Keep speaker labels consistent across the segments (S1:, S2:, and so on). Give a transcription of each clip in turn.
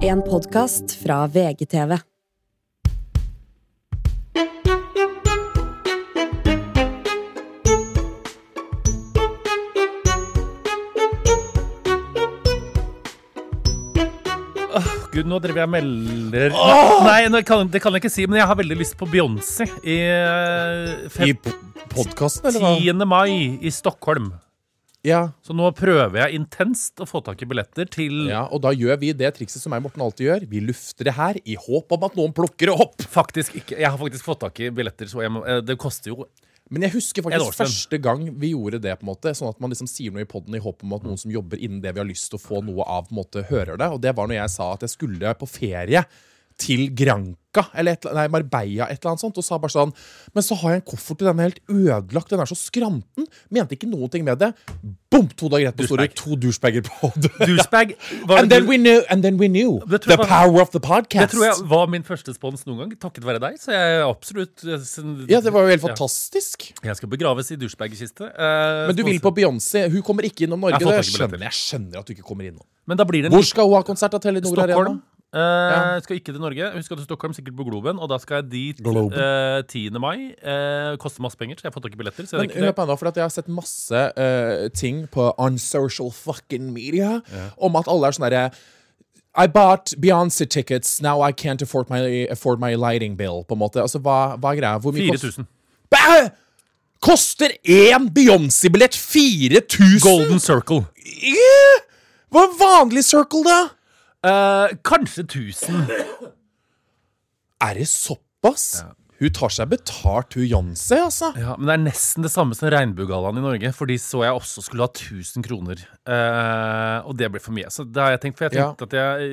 S1: En podkast fra VGTV.
S2: Gud, nå driver jeg og melder Nei, nå kan, det kan jeg ikke si, men jeg har veldig lyst på Beyoncé i eh,
S3: I
S2: fem-
S3: podkasten, eller hva?
S2: 10. mai i Stockholm.
S3: Ja.
S2: Så nå prøver jeg intenst å få tak i billetter til
S3: ja, Og da gjør vi det trikset som jeg og Morten alltid gjør. Vi lufter det her i håp om at noen plukker det opp.
S2: Faktisk ikke. Jeg har faktisk fått tak i billetter, så jeg må, eh, det koster jo
S3: Men jeg
S2: En
S3: husker
S2: år
S3: faktisk
S2: siden.
S3: første gang vi gjorde det. på en måte Sånn at man liksom sier noe i podden i håp om at noen som jobber innen det vi har lyst til å få noe av, på en måte hører det. Og det var når jeg sa at jeg skulle på ferie til Granca, eller et, nei, Marbella, et eller annet sånt, og sa bare sånn Men så har jeg en koffert til den er helt ødelagt, den er så skranten. Mente ikke noen ting med det. Bom! To dager etterpå står det to douchebager på døra.
S2: Douchebag. Var
S3: And
S2: det,
S3: then we knew, and then we knew
S2: Det tror
S3: the
S2: jeg var-
S3: power of the podcast.
S2: det tror jeg var min første spons noen gang, takket være deg. Så jeg er absolutt eh, sen-
S3: Ja, det var jo helt
S2: Ja.
S3: fantastisk.
S2: Jeg skal begraves i douchebagkiste. eh,
S3: Men du vil
S2: sponset.
S3: på Beyoncé. Hun kommer ikke innom Norge.
S2: Jeg får
S3: Det
S2: tak i
S3: skjønner
S2: billetter.
S3: jeg. skjønner at du ikke kommer innom.
S2: Men da blir det en
S3: Hvor skal hun ha konsert av Telenor Arena?
S2: Stockholm. Eh,
S3: Ja.
S2: Skal ikke til Norge. Hun skal til Stockholm, sikkert på Globen. Og da skal jeg dit
S3: Globen.
S2: eh, 10. mai. Eh, koster masse penger, så jeg får tak i billetter. Så
S3: Men
S2: det er ikke
S3: løp
S2: det.
S3: ennå, for at jeg har sett masse eh, ting på on social fucking media om at alle er sånn derre I bought Beyoncé tickets, now I can't afford my, afford my lighting bill. på en måte. Altså, Hva, hva er greia? Hvor mye kost-
S2: 4000.
S3: Bæ! Koster én Beyoncé-billett 4000?!
S2: Golden Circle.
S3: Yeah! Hva er vanlig circle, da?
S2: Eh, kanskje 1000.
S3: Er det såpass? Hun tar seg betalt, hun Beyoncé, altså.
S2: Ja, men det er nesten det samme som Regnbuegallaen i Norge. For de så jeg også skulle ha 1000 kroner. Eh, og det ble for mye. Så det har jeg tenkt, for jeg
S3: Ja.
S2: tenkte at jeg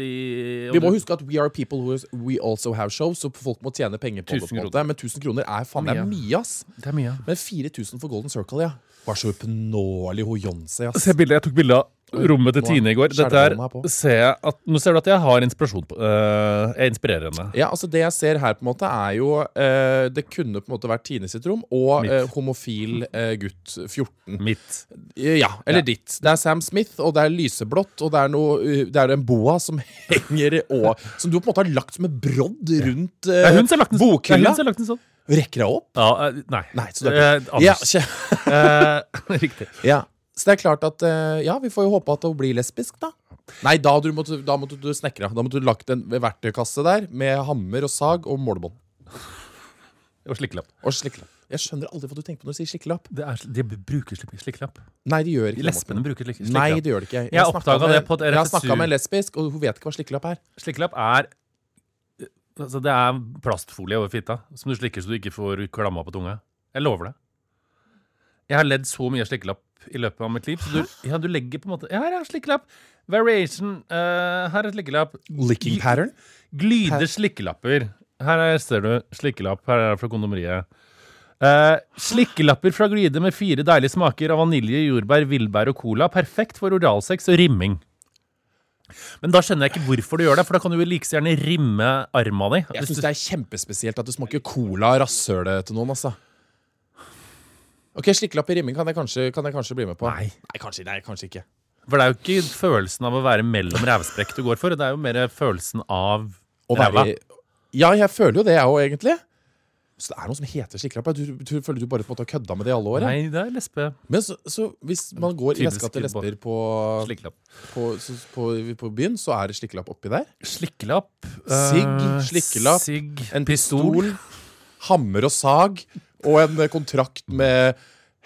S3: Vi må huske at we are people who is, we also have shows, så folk må tjene penger på det.
S2: 1000
S3: på en måte. Men 1000 kroner er faen meg
S2: Mye.
S3: mye, ass.
S2: Det er mye.
S3: Men 4000 for Golden Circle, ja. Var så oppnåelig hun Beyoncé, ass.
S2: Se bildet, Jeg tok bilde av rommet til
S3: nå er
S2: Tine i går. Dette
S3: skjelvhånda her
S2: her
S3: på.
S2: ser jeg at, Nå ser du at jeg har inspirasjon på eh, Jeg inspirerer henne.
S3: Ja, altså Det jeg ser her, på en måte er jo eh, Det kunne på en måte vært Tine sitt rom og
S2: Mitt.
S3: eh, homofil eh, gutt 14.
S2: Mitt.
S3: Eh, Ja, eller
S2: Ja.
S3: ditt. Det er Sam Smith, og det er lyseblått, og det er, noe, uh, det er en boa som henger og Som du på en måte har lagt som et brodd rundt
S2: Det
S3: uh,
S2: er hun som har lagt den sånn. Det er hun
S3: bokhylla.
S2: som har lagt den sånn.
S3: Rekker jeg opp?
S2: Ja, eh, nei.
S3: Nei, så det er
S2: Eh,
S3: ikke ja,
S2: Anders.
S3: kje-
S2: Eh, riktig.
S3: ja. Så det er klart at uh, Ja, vi får jo håpe at hun blir lesbisk, da. Nei, da, hadde du måtte, da måtte du snekra. Da måtte du lagt en verktøykasse der med hammer og sag og målebånd.
S2: Og slikkelapp.
S3: Og slikkelapp. Jeg skjønner aldri hva du tenker på når du sier slikkelapp.
S2: Det er, de bruker slik- slikkelapp.
S3: Nei, de gjør ikke det, Morten.
S2: Lesbene bruker slik-
S3: Nei,
S2: slikkelapp.
S3: det gjør det ikke.
S2: Jeg
S3: snakket
S2: oppdaget
S3: med-
S2: det på et
S3: Jeg har
S2: RFSU.
S3: snakka med en lesbisk, og hun vet ikke hva slikkelapp er.
S2: Slikkelapp er eh, Altså, det er plastfolie over fitta som du slikker så du ikke får klamma på tunga. Jeg lover det. Jeg har ledd så mye slikkelapp i løpet av mitt liv. Så du, ja, du legger på en måte Her er slikkelapp! Variation. eh, her er slikkelapp.
S3: Licking pattern?
S2: Glider
S3: Her-
S2: slikkelapper. Her er, ser du slikkelapp. Her er det fra kondomeriet. Eh, slikkelapper fra Glide med fire deilige smaker av vanilje, jordbær, villbær og cola. Perfekt for oralsex og rimming. Men da skjønner jeg ikke hvorfor du gjør det, for da kan du jo like så gjerne rimme arma di.
S3: Jeg
S2: Hvis
S3: syns
S2: du-
S3: det er kjempespesielt at du smaker cola og rasshølet til noen. altså Ok, Slikkelapp i rimming kan jeg kanskje, kan jeg kanskje bli med på.
S2: Nei.
S3: kanskje, nei, kanskje ikke.
S2: For det er jo ikke følelsen av å være mellom rævsprekk du går for, det er jo mer følelsen av
S3: Å
S2: ræva.
S3: være, ja, jeg føler jo det, jeg òg, egentlig. Så det er noe som heter slikkelapp. Du, du føler du bare på en måte har kødda med det i alle år. ja.
S2: Nei, det er lesbe.
S3: Men så, så hvis man går i
S2: Typisk
S3: veska til
S2: kidball.
S3: lesber på,
S2: Slikkelapp.
S3: på, så- på, på byen, så er det slikkelapp oppi der.
S2: Slikkelapp.
S3: Sigg,
S2: eh,
S3: slikkelapp,
S2: Sigg.
S3: En pistol, hammer og sag, og en eh, kontrakt med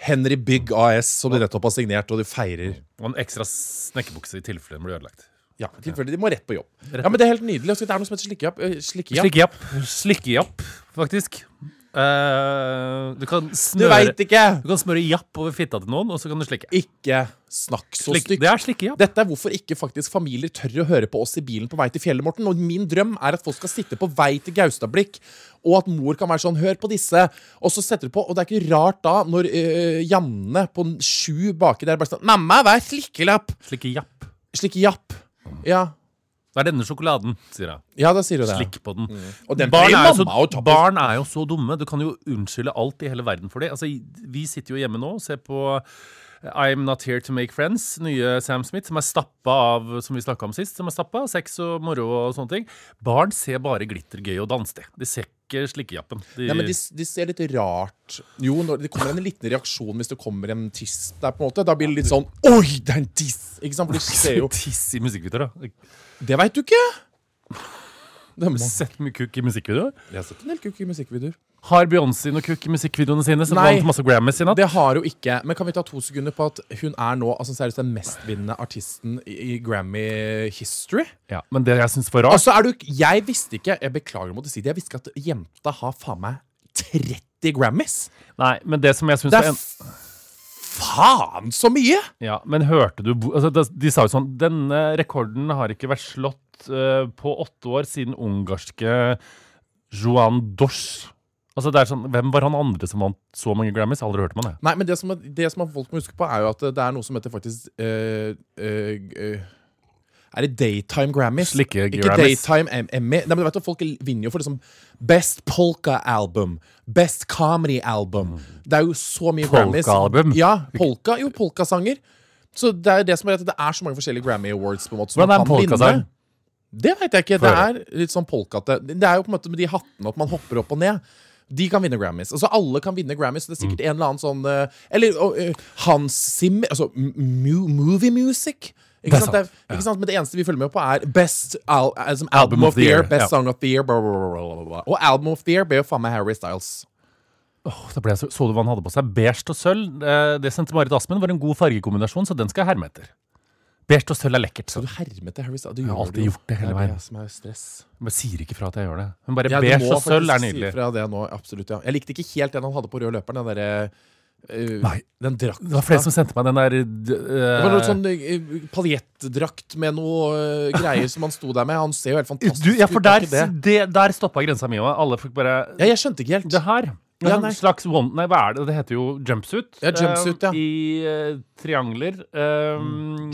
S3: Henry Bygg AS, som de nettopp har signert, og de feirer.
S2: Og en ekstra snekkerbukse i tilfelle den blir ødelagt.
S3: Ja, i tilfelle de må rett på jobb.
S2: Rett
S3: Ja, men Det er helt nydelig. Altså, Det er noe som heter slikkejapp. eh, slikkejapp.
S2: Slikkejapp. Slikkejapp, faktisk. Eh, du kan
S3: Du
S2: smøre
S3: veit ikke!
S2: Du kan smøre japp over fitta til noen, og så kan du slikke.
S3: Ikke snakk så
S2: Slik,
S3: stygt.
S2: det er slikkejapp.
S3: Dette er hvorfor ikke faktisk familier tør å høre på oss i bilen på vei til fjellet, Morten. Og min drøm er at folk skal sitte på vei til Gaustablikk, og at mor kan være sånn 'Hør på disse', og så setter du på. Og det er ikke rart da, når eh, Janne på n- sju baki der bare sånn 'Mamma, hva er slikkelapp?'
S2: Slikkejapp.
S3: Slikkejapp. Ja.
S2: Det er denne sjokoladen, sier jeg.
S3: ja, Mm. da sier du det.
S2: Slikk på den.
S3: Og den
S2: barn,
S3: pleier
S2: er jo
S3: mamma å ta
S2: så,
S3: på-
S2: barn er jo så dumme. Du kan jo unnskylde alt i hele verden for det. Altså, vi sitter jo hjemme nå og ser på I'm Not Here To Make Friends, nye Sam Smith, som er stappa av som vi snakket om sist, som er stappa av sex og moro og sånne ting. Barn ser bare glittergøy og danse. De ser ikke slikkejappen. De,
S3: Nei, men de, de ser litt rart Jo, når, det kommer en liten reaksjon hvis det kommer en tiss der, på en måte. Da blir det litt sånn Oi, det er en tiss! Ikke sant? For de ser jo
S2: Tiss i musikkvideoer, da.
S3: Det veit du ikke! Det
S2: Har du Sett mye kukk i musikkvideoer.
S3: Jeg har sett en del kukk i musikkvideoer.
S2: Har Beyoncé noe kukk i musikkvideoene sine, som
S3: Nei.
S2: vant masse Grammys i natt?
S3: Det har hun ikke. Men kan vi ta to sekunder på at hun er nå altså, seriøst den mestvinnende artisten i i Grammy history?
S2: Ja, men det jeg syns var rart
S3: Altså, er du Jeg visste ikke Jeg beklager om å måtte si det. Jeg visste ikke at jenta har faen meg 30 Grammys!
S2: Nei, men det som jeg synes var en-
S3: Altså- Det er f- faen så mye!
S2: Ja, men hørte du bo- altså, de, de sa jo sånn Denne rekorden har ikke vært slått eh, på åtte år siden ungarske Joan Dosh. Altså, det er sånn, Hvem var han andre som vant så mange Grammys? Aldri hørte man det.
S3: Nei, men det som, det som folk må huske på, er jo at det er noe som heter faktisk eh, eh, eh, Er det Daytime Grammys?
S2: Slikke
S3: Ikke
S2: Grammys.
S3: Daytime em- Emmy. Nei, men du vet, at Folk vinner jo for liksom Best Polka Album. Best Comedy Album. Det er jo så mye
S2: Polka
S3: Grammys.
S2: album?
S3: Ja, polka, jo, polkasanger. Så det er jo det som er at det er så mange forskjellige Grammy Awards. på en måte som
S2: Hvordan er en
S3: man kan vinne.
S2: polkasang?
S3: Det veit jeg ikke.
S2: Få
S3: Det er litt sånn polkate. Det er jo på en måte med de hattene at man hopper opp og ned. De kan vinne Grammys. Altså Alle kan vinne Grammys. Det er
S2: Mm.
S3: sikkert en eller annen sånn eh, Eller og, eh, Hans Zimmer Altså m- mu Movie Music. Ikke
S2: er
S3: sant? Det er,
S2: sant,
S3: ikke sant? Men det eneste vi følger med på, er Best al altså, album, of the Year, Best
S2: ja.
S3: Song of the Year, bla, bla, bla, bla, bla, bla. Og Album of the Year ble jo faen meg Harry Styles.
S2: Åh, da ble jeg så, så du hva han hadde på seg? Beige og sølv. Eh, Det sendte Marit Aspen var en god fargekombinasjon, så den skal jeg herme etter. Beige og sølv er lekkert. Så.
S3: Du hermet til Harry Styles. Du
S2: Jeg har
S3: gjør
S2: alltid
S3: jo.
S2: gjort det hele
S3: er
S2: veien.
S3: som er stress.
S2: Jeg bare sier ikke fra at jeg gjør det. Men bare
S3: Ja, du
S2: beige
S3: må
S2: og sølv er
S3: faktisk
S2: nydelig.
S3: Si fra det nå, absolutt, ja. Jeg likte ikke helt den han hadde på rød løperen. Den derre eh,
S2: Nei.
S3: Den drakten.
S2: Det var flere som sendte meg den der eh,
S3: Det var noe sånn eh, paljettdrakt med noe eh, greier som han sto der med. Han ser jo helt fantastisk
S2: du, Ja, for
S3: ut.
S2: der,
S3: er ikke
S2: det.
S3: det.
S2: der stoppa grensa mi òg. Alle fikk bare
S3: Ja, jeg skjønte ikke helt.
S2: Det her det
S3: Ja,
S2: er en
S3: nei.
S2: slags one, nei, hva er det? Det heter jo jumpsuit.
S3: Ja,
S2: eh,
S3: jumpsuit, ja. Mm,
S2: I eh, triangler. eh,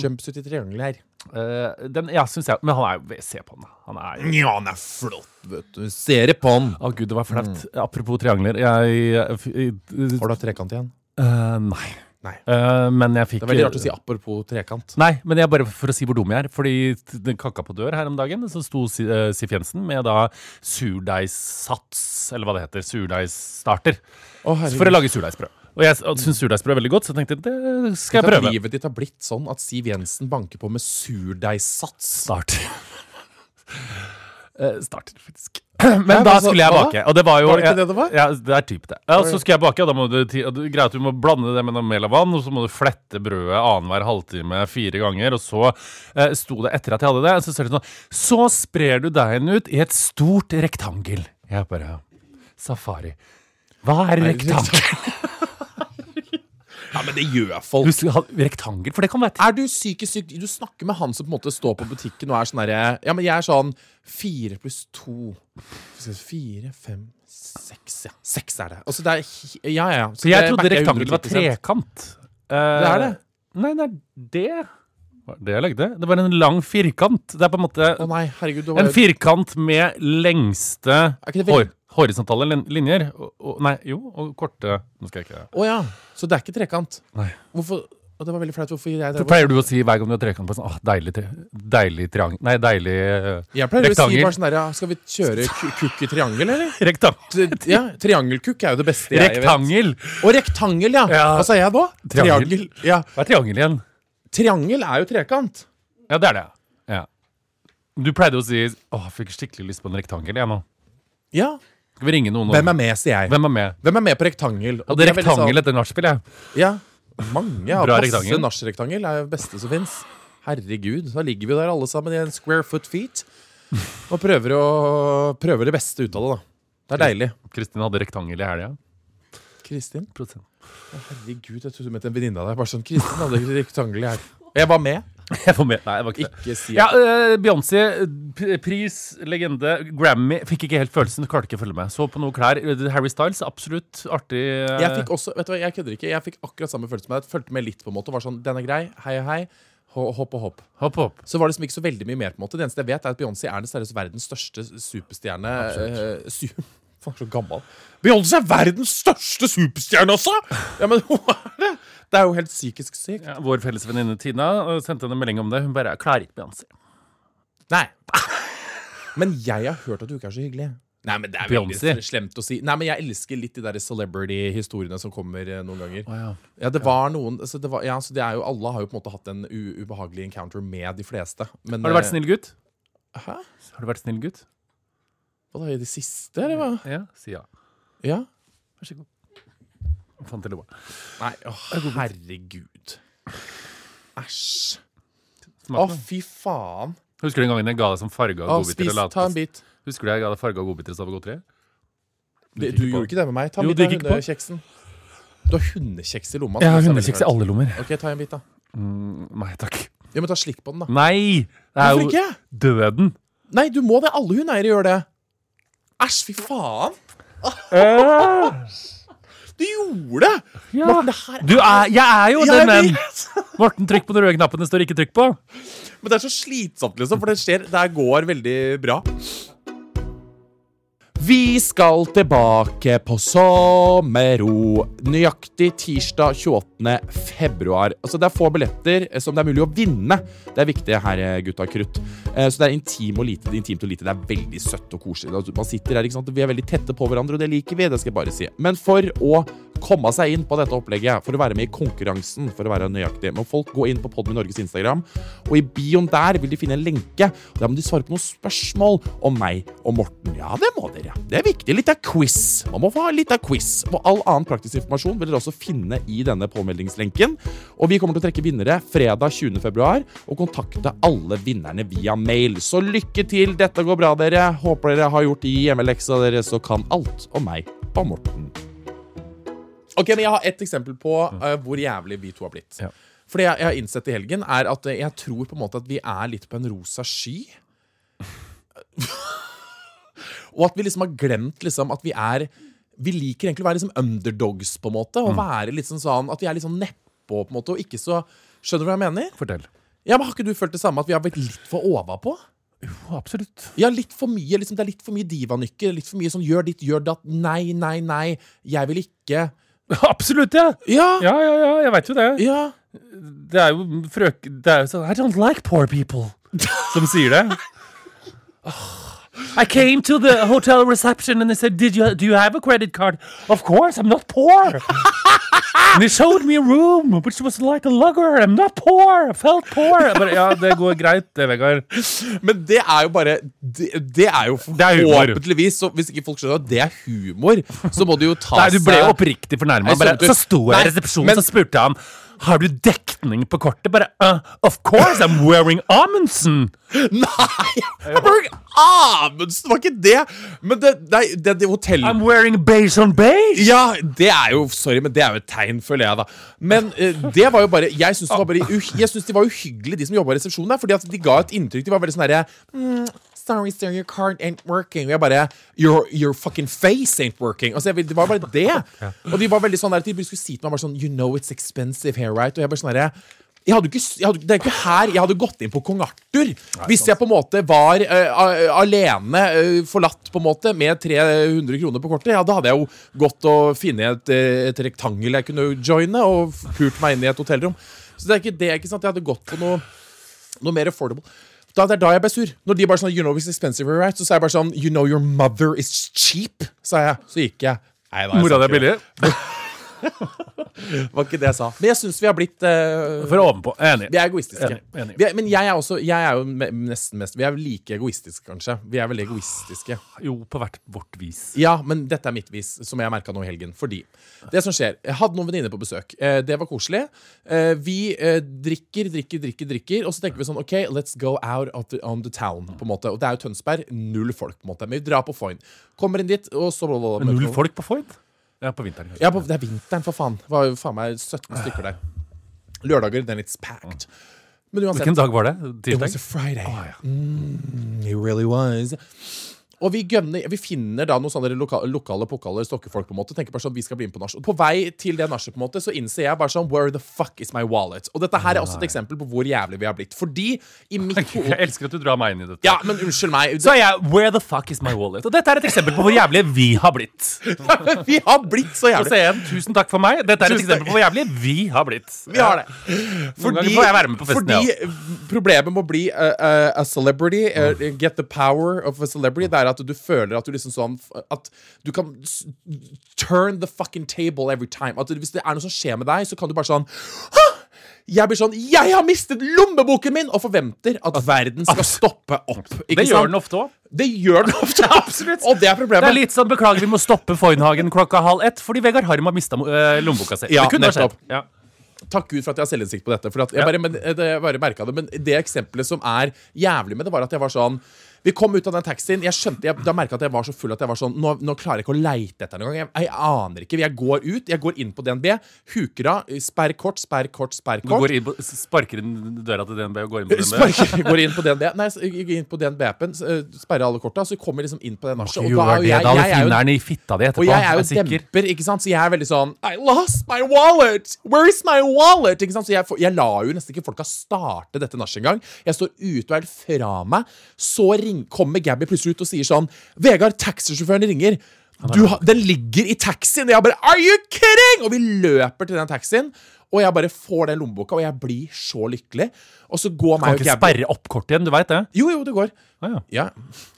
S3: Jumpsuit i triangel her.
S2: eh, den, ja, syns jeg. Men han er jo Se på han, da. Han er jo
S3: Ja, han er flott, vet du. Ser det på han.
S2: Å, gud, det var flaut. Apropos triangler. Jeg eh, f- i-
S3: Mm. Har du hatt trekant igjen?
S2: eh, Nei.
S3: Nei.
S2: Eh, men jeg fikk
S3: Det er veldig rart å si apropos trekant.
S2: Nei, men jeg bare for å si hvor dum jeg er. Fordi t- den kakka på dør her om dagen, så sto Si- eh, Sif Jensen med da surdeigssats, eller hva det heter. Surdeigsstarter.
S3: Å,
S2: For å lage surdeigsbrød. Og jeg syns surdeigsbrød er veldig godt, så jeg tenkte det skal jeg
S3: Tenk at
S2: prøve.
S3: Livet ditt har blitt sånn at Siv Jensen banker på med surdeigssats.
S2: Start. Eh, Starter, faktisk. Men da
S3: altså,
S2: skulle jeg
S3: hva
S2: bake. Og det var, jo,
S3: Var det ikke det det var?
S2: Ja, det er typ det. Ja, så skulle jeg bake, og da må du, ti- og du, greit, du må blande det med noe mel og vann, og så må du flette brødet annenhver halvtime fire ganger, og så eh, sto det etter at jeg hadde det, så ser det sånn Så sprer du deigen ut i et stort rektangel. Jeg bare Safari. Hva er rektangel?
S3: Ja, men det gjør folk.
S2: Du, skulle ha- rektangel? For det kan være
S3: Er du psykisk syk? Du snakker med han som på en måte står på butikken og er sånn herre Ja, men jeg er sånn fire pluss to Skal vi se, Fire, fem, seks, ja. Seks er det. Altså, det er hi- Ja, ja. ja. Så
S2: For jeg
S3: det
S2: trodde
S3: merker jeg
S2: rektangel var
S3: 110%.
S2: trekant.
S3: Det er det.
S2: Nei, det er det. Hva er Det jeg lagde? Det var en lang firkant. Det er på en måte
S3: Å nei, herregud. Det var,
S2: en firkant med lengste
S3: ikke det
S2: hor
S3: veldig-
S2: horisontale lin linjer. Og, og, nei, jo, og korte Nå skal jeg ikke
S3: Å ja. Så det er ikke trekant.
S2: Nei.
S3: Hvorfor Og det var veldig flaut. Hvorfor jeg
S2: Så pleier du å si hver gang du har trekant på sånn Åh, deilig, tre deilig triangel Nei, deilig eh,
S3: Jeg pleier å si
S2: rektangel.
S3: bare sånn herre Skal vi kjøre ku- kukk i triangel, eller?
S2: rektangel.
S3: T- Ja, Triangelkukk er jo det beste jeg vet.
S2: Rektangel!
S3: Og rektangel, ja.
S2: Ja.
S3: Hva sa jeg da?
S2: Triangel.
S3: Triangel. Ja.
S2: Hva er triangel igjen?
S3: Triangel er jo trekant.
S2: Ja, det er det. Ja. Du pleide å si Åh, jeg fikk skikkelig lyst på en rektangel, jeg nå.
S3: Ja.
S2: Skal vi ringe noen? nå?
S3: Hvem er med, sier jeg.
S2: Hvem er med?
S3: Hvem er med på rektangel? Og
S2: Hadde
S3: de er veldig
S2: rektangel etter nachspiel, jeg.
S3: Sånn, ja, mange. Ja,
S2: Bra
S3: masse
S2: rektangel.
S3: nachrektangel er jo det beste som fins. Herregud, da ligger vi der alle sammen i en square foot feet og prøver, å, prøver det beste ut av det, da. Det er deilig.
S2: Kristin hadde rektangel i helga.
S3: Kristin?
S2: Prosent.
S3: Herregud, jeg trodde du mente en venninne av deg. Bare sånn, Kristin hadde rektangel her. Og jeg var med.
S2: Jeg får med. Nei, det var ikke det.
S3: Ikke si
S2: Ja, eh, Beyoncé, p- pris, legende, Grammy. Fikk ikke helt følelsen, klarte ikke å følge med. Så på noen klær. Eh, Harry Styles, absolutt artig. eh,
S3: Jeg fikk også, vet du hva, jeg kødder ikke. Jeg fikk akkurat samme følelse med deg. Fulgte med litt, på en måte. og Var sånn, den er grei. Hei og hei. Ho- Hopp og hopp.
S2: Hopp, hopp.
S3: så var det liksom ikke så veldig mye mer. på en måte Det eneste jeg vet, er at Beyoncé er den seriøse verdens største superstjerne. eh, su Faen, så gammel. Beyoncé er verdens største superstjerne også! Ja, men hva er det? Det er jo helt psykisk sykt.
S2: Ja, vår felles venninne Tina eh, sendte en melding om det. Hun bare 'Jeg klarer ikke Beyoncé'.
S3: Nei. Men jeg har hørt at du ikke er så hyggelig. Nei, men det er
S2: Beyoncé.
S3: veldig slemt å si. Nei, men jeg elsker litt de der celebrity-historiene som kommer eh, noen ganger.
S2: ja.
S3: Ja, det var noen altså det var, ja, så det er jo, Alle har jo på en måte hatt en u ubehagelig encounter med de fleste. Men,
S2: Har du vært
S3: eh,
S2: snill gutt?
S3: Hæ?
S2: Har du vært snill gutt?
S3: Hva da, i det siste, eller hva?
S2: Ja, si ja.
S3: Ja.
S2: Vær så god. Fant jeg loa.
S3: Nei, åh, herregud. Æsj. Å,
S2: Smakte.
S3: fy faen.
S2: Husker du den gangen jeg ga deg som farga
S3: Å,
S2: godbiter?
S3: spis,
S2: og
S3: ta en
S2: latex?
S3: bit.
S2: Husker du jeg ga deg farga godbiter i stedet for godteri? gikk
S3: Du, du
S2: ikke på.
S3: gjorde ikke det med meg. Ta en
S2: Jo,
S3: bit
S2: du
S3: av
S2: gikk ikke på.
S3: hundekjeksen. Du har hundekjeks i lomma.
S2: Jeg har
S3: så det er
S2: hundekjeks i
S3: veldig
S2: alle lommer.
S3: rart. Ok, ta en bit, da.
S2: Nei takk.
S3: Ja, men ta slikk på
S2: Mm.
S3: den, da.
S2: Nei! Det er
S3: Hvorfor
S2: jo
S3: ikke?
S2: døden.
S3: Nei, du må det. Alle hundeeiere gjør det. Æsj, fy faen. Du gjorde det! Morten, det her
S2: Du er, jeg er jo
S3: Jeg
S2: den menn!
S3: vet.
S2: Morten, trykk på den røde knappen det står ikke trykk på.
S3: Men det er så slitsomt, liksom, for det skjer Det her går veldig bra. Vi skal tilbake på sommerro. Nøyaktig tirsdag 28. februar. Altså, det er få billetter eh, som det er mulig å vinne. Det er viktig her, eh, gutta krutt. Eh, Så det er intim og lite, intimt og lite. Det er veldig søtt og koselig. Altså, Man sitter her, ikke sant? Vi er veldig tette på hverandre, og det liker vi. Det skal jeg bare si. Men for å komme seg inn på dette opplegget, for å være med i konkurransen, for å være nøyaktig, må folk gå inn på Podmy Norges Instagram, og i bioen der vil de finne en lenke. Der må de svare på noen spørsmål om meg og Morten. Ja, det må dere. Det er viktig. Litt av quiz. Man må få ha litt av quiz. Og all annen praktisk informasjon vil dere også finne i denne påmeldingslenken. Og vi kommer til å trekke vinnere fredag 20. februar, og kontakte alle vinnerne via mail. Så lykke til. Dette går bra, dere. Håper dere har gjort de hjemmeleksa deres og kan alt om meg og Morten. Ok, men Jeg har ett eksempel på eh, hvor jævlig vi to har blitt.
S2: Ja.
S3: For det jeg, jeg har innsett i helgen, er at eh, jeg tror på en måte at vi er litt på en rosa sky. og at vi liksom har glemt liksom at vi er Vi liker egentlig å være liksom underdogs, på en måte. Og være litt sånn sånn At vi er litt sånn nedpå, på en måte, og ikke så Skjønner du hva jeg mener?
S2: Fortell.
S3: Ja, men Har ikke du følt det samme, at vi har blitt litt for overpå?
S2: Absolutt.
S3: Ja, litt for mye, liksom, det er litt for mye divanykker. Litt for mye sånn 'gjør ditt, gjør datt', 'nei, nei, nei', 'jeg vil ikke'.
S2: Absolutt, ja!
S3: Ja,
S2: Ja, ja, ja, jeg veit jo det.
S3: ja.
S2: Det er jo frøk... Det er jo sånn I don't like poor people, som sier det. I came to the hotel reception and they said, Did you, do you have a credit card? Of course, I'm not poor. And they showed me a room, which was like a lugger. I'm not poor. I felt poor. Jeg Bare, ja, det går greit, det, Vegard.
S3: Men det er jo bare Det, det er jo
S2: er humor.
S3: forhåpentligvis så Hvis ikke folk skjønner at det er humor, så må det jo tas
S2: Nei, du ble jo oppriktig fornærma.
S3: Jeg skjønte-
S2: Så sto Altså, jeg
S3: Nei,
S2: i resepsjonen
S3: men-
S2: så spurte jeg ham har du dekning på kortet. Bare uh, Of course, I'm wearing Amundsen!
S3: Nei! Berg Amundsen var ikke det! Men det, nei, det, det hotellet
S2: I'm wearing beige on beige!
S3: Ja, det er jo Sorry, men det er jo et tegn, føler jeg, da. Men eh, det var jo bare Jeg syns det var bare uh, Jeg synes de var uhyggelige, de som jobba i resepsjonen der. Fordi at de ga et inntrykk. De var veldig sånn herre mm, Sorry, sir, your card ain't working. Og jeg bare Your, your fucking face ain't working. Altså, jeg, vil- Det var bare det. Og de var veldig sånn der De bare skulle si til meg bare sånn You know it's expensive here, right? Og jeg bare sånn herre jeg hadde jo ikke, s- jeg hadde, det er ikke her jeg hadde gått inn på kong Arthur hvis jeg på en måte var eh, a- alene, eh, forlatt på en måte, med 300 kroner på kortet. Ja, Da hadde jeg jo gått og funnet et, eh, et rektangel jeg kunne joine, og pult meg inn i et hotellrom. Så det er ikke det, ikke sant? Jeg hadde gått på noe, noe mer affordable. Da, det er da jeg ble sur. Når de bare sånn, you know it's expensive, right? Så sa jeg bare sånn, you know your mother is cheap, sa jeg. Så gikk jeg. Nei, da, jeg sa
S2: Mora di
S3: ikke
S2: er billig.
S3: Det var ikke det jeg sa. Men jeg syns vi har blitt eh,
S2: For ovenpå. Jeg er Enig.
S3: Vi er egoistiske.
S2: Enig, enig.
S3: Vi er, men jeg er også jeg er jo me- nesten mest Vi er jo like egoistiske, kanskje. Vi er veldig egoistiske.
S2: Jo, på hvert vårt vis.
S3: Ja, men dette er mitt vis, som jeg merka nå i helgen. Fordi det som skjer Jeg hadde noen venninner på besøk. Eh, det var koselig. Eh, vi eh, drikker, drikker, drikker, drikker, og så tenker vi sånn OK, let's go out of the, on the town, på en måte. Og det er jo Tønsberg. Null folk, på en måte. Men vi drar på Foyn. Kommer inn dit, og så
S2: Men null folk på Foyd? Ja, på vinteren. kanskje.
S3: ja, på, det er vinteren, for faen. Det var jo faen meg 17 stykker der. Lørdager, then it's packed. Men uansett
S2: Hvilken dag var det? Ah,
S3: It was
S2: Tirsdag?
S3: a Friday.
S2: Å, ja.
S3: It really was. Og vi, gønner, vi finner da noen sånne loka, lokale pokaler, stokkefolk, på en måte. Tenker bare sånn, vi skal bli med på nach. Og på vei til det nachet, på en måte, så innser jeg bare sånn Where the fuck is my wallet? Og dette her er også et eksempel på hvor jævlig vi har blitt. Fordi i mitt
S2: Jeg
S3: hode
S2: elsker at du drar meg inn i dette.
S3: Ja, men unnskyld meg.
S2: Så er jeg Where the fuck is my wallet? Og dette er et eksempel på hvor jævlig vi har blitt.
S3: vi har blitt
S2: Og så
S3: så jævlig.
S2: er jeg, tusen takk for meg. Dette er et
S3: Tusen takk.
S2: eksempel på hvor jævlig vi har blitt.
S3: Vi har det.
S2: ganger får jeg være med på festen,
S3: fordi problemet med å bli uh, uh, a celebrity, uh,
S2: Mm.
S3: get the power of a celebrity, det er at du føler at du liksom sånn At du kan s- turn the fucking table every time. At hvis det er noe som skjer med deg, så kan du bare sånn Hå! Jeg blir sånn Jeg har mistet lommeboken min! Og forventer at verden skal stoppe opp. Ikke
S2: Det gjør
S3: sant?
S2: den ofte òg.
S3: Det gjør den ofte.
S2: Absolutt.
S3: Og det er
S2: Det
S3: problemet.
S2: er litt sånn, Beklager, vi må stoppe Foynhagen klokka halv ett fordi Vegard Harm har mista lommeboka si.
S3: Ja,
S2: det kunne ha skjedd.
S3: nettopp.
S2: Ja.
S3: Takk Gud for at jeg har selvinnsikt på dette. For at jeg
S2: Ja.
S3: bare, men, eh, det, jeg bare merket det, men det eksempelet som er jævlig med det, var at jeg var sånn Vi kom ut av den taxien. Jeg skjønte, jeg, da merka jeg at jeg var så full at jeg var sånn Nå, nå klarer jeg ikke å leite etter den engang. Jeg, jeg aner ikke. Jeg går ut. Jeg går inn på DNB. Huker av. Sperr kort, sperr kort, sperr
S2: Du
S3: kort.
S2: går inn på, sparker inn døra til DNB og går inn på DNB.
S3: Sparker, går inn på DNB Nei, s- gikk inn på DNB-appen, eh, sperrer alle korta, så kommer jeg liksom inn på det nachet.
S2: Jo,
S3: er jo
S2: det,
S3: jeg-
S2: da
S3: jeg er jo-
S2: finner han i fitta di etterpå.
S3: Og jeg er jo
S2: sikker.
S3: demper, ikke sant? så jeg er veldig sånn I lost my wallet! Where is my wallet? Ikke sant? Så jeg, får- jeg lar jo nesten ikke folka starte dette nachet engang. Jeg står ute og er helt fra meg. Så ring, kommer Gabby plutselig ut og sier sånn Vegard, taxisjåføren ringer. Du, har- den ligger i taxien! Og jeg bare Are you kidding?! Og vi løper til den taxien. Og jeg bare får den lommeboka, og jeg blir så lykkelig. Og så går
S2: Kan
S3: meg og
S2: ikke
S3: Gabby
S2: sperre opp kortet igjen, du veit det?
S3: Jo, jo, det går.
S2: Ah, ja.
S3: Ja,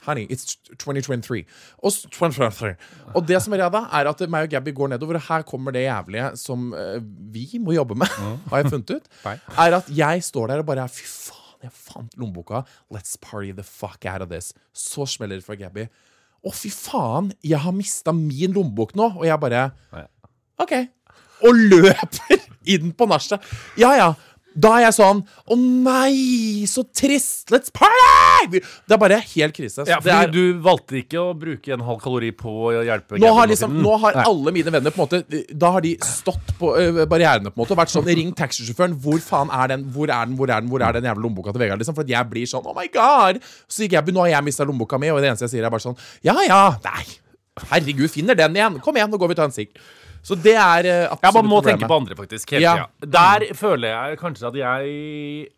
S3: honey, it's 2023. Og, s- 2023. og det som er greia da, er at meg og Gabby går nedover, og her kommer det jævlige som eh, vi må jobbe med, har jeg funnet ut, er at jeg står der og bare er fy faen, jeg fant lommeboka, let's party the fuck out of this. Så smeller det for Gabby. Å, fy faen, jeg har mista min lommebok nå, og jeg bare OK. Og løper inn på nachet. Ja, ja. Da er jeg sånn Å nei, så trist! Let's party! Det er bare helt krise. Så
S2: Ja,
S3: det
S2: fordi
S3: er,
S2: du valgte ikke å bruke en halv kalori på å hjelpe
S3: nå
S2: Gabby
S3: har,
S2: med
S3: liksom,
S2: tiden.
S3: nå har
S2: Nei.
S3: alle mine venner på en måte Da har de stått på ø, barrierene på en måte og vært sånn Ring taxisjåføren. Hvor faen er den? Hvor er den? Hvor er den Hvor er den jævla lommeboka til Vegard? liksom For at jeg blir sånn Oh my god! Så gikk jeg, nå har jeg mista lommeboka mi, og det eneste jeg sier, er bare sånn Ja ja, nei. Herregud, finner den igjen. Kom igjen, nå går vi og tar en sigg. Så det er ø, absolutt
S2: Jeg bare må
S3: problemet.
S2: tenke på andre, faktisk. Hele
S3: Ja.
S2: tida. Der føler jeg kanskje at jeg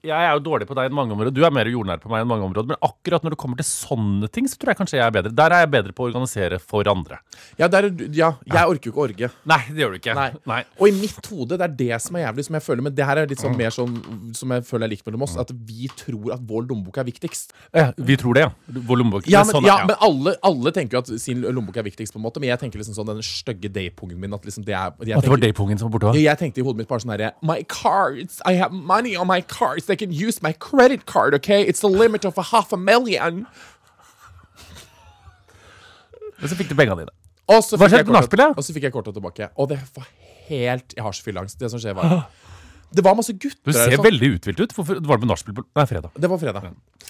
S2: Jeg er jo dårlig på deg enn mange områder. Du er mer jordnær på meg enn mange områder. Men akkurat når det kommer til sånne ting, så tror jeg kanskje jeg er bedre. Der er jeg bedre på å organisere for andre.
S3: Ja, der, er du- ja, jeg orker jo ikke å orge.
S2: Nei, det gjør du ikke.
S3: Nei. Og i mitt hode, det er det som er jævlig, som jeg føler Men det her er litt sånn mer sånn som jeg føler er likt mellom oss, at vi tror at vår lommebok er viktigst.
S2: Eh, Vi tror det, ja. Vår lommebok.
S3: Ja,
S2: Det er
S3: men,
S2: sånn,
S3: ja, men alle, alle tenker jo at sin lommebok er viktigst, på en måte. Men jeg tenker liksom sånn den stygge daypungen min, at liksom det er jeg
S2: At det var
S3: tenker,
S2: daypungen som var borte?
S3: jeg tenkte i hodet mitt bare sånn herre My cards! I have money on my cards! They can use my credit card, okay? It's the limit of a half a million!
S2: Men så fikk du pengene dine.
S3: Og så
S2: Hva
S3: fikk jeg
S2: skjedde på
S3: kortet-
S2: nachspielet?
S3: Og så fikk jeg kortet tilbake. Og det var helt Jeg har så fylleangst. Det som skjer, var Det var masse
S2: Ah. Du
S3: gutter der og
S2: ser
S3: sånn.
S2: veldig uthvilt ut. Hvorfor var du på nachspiel på Nei, fredag?
S3: Det var fredag.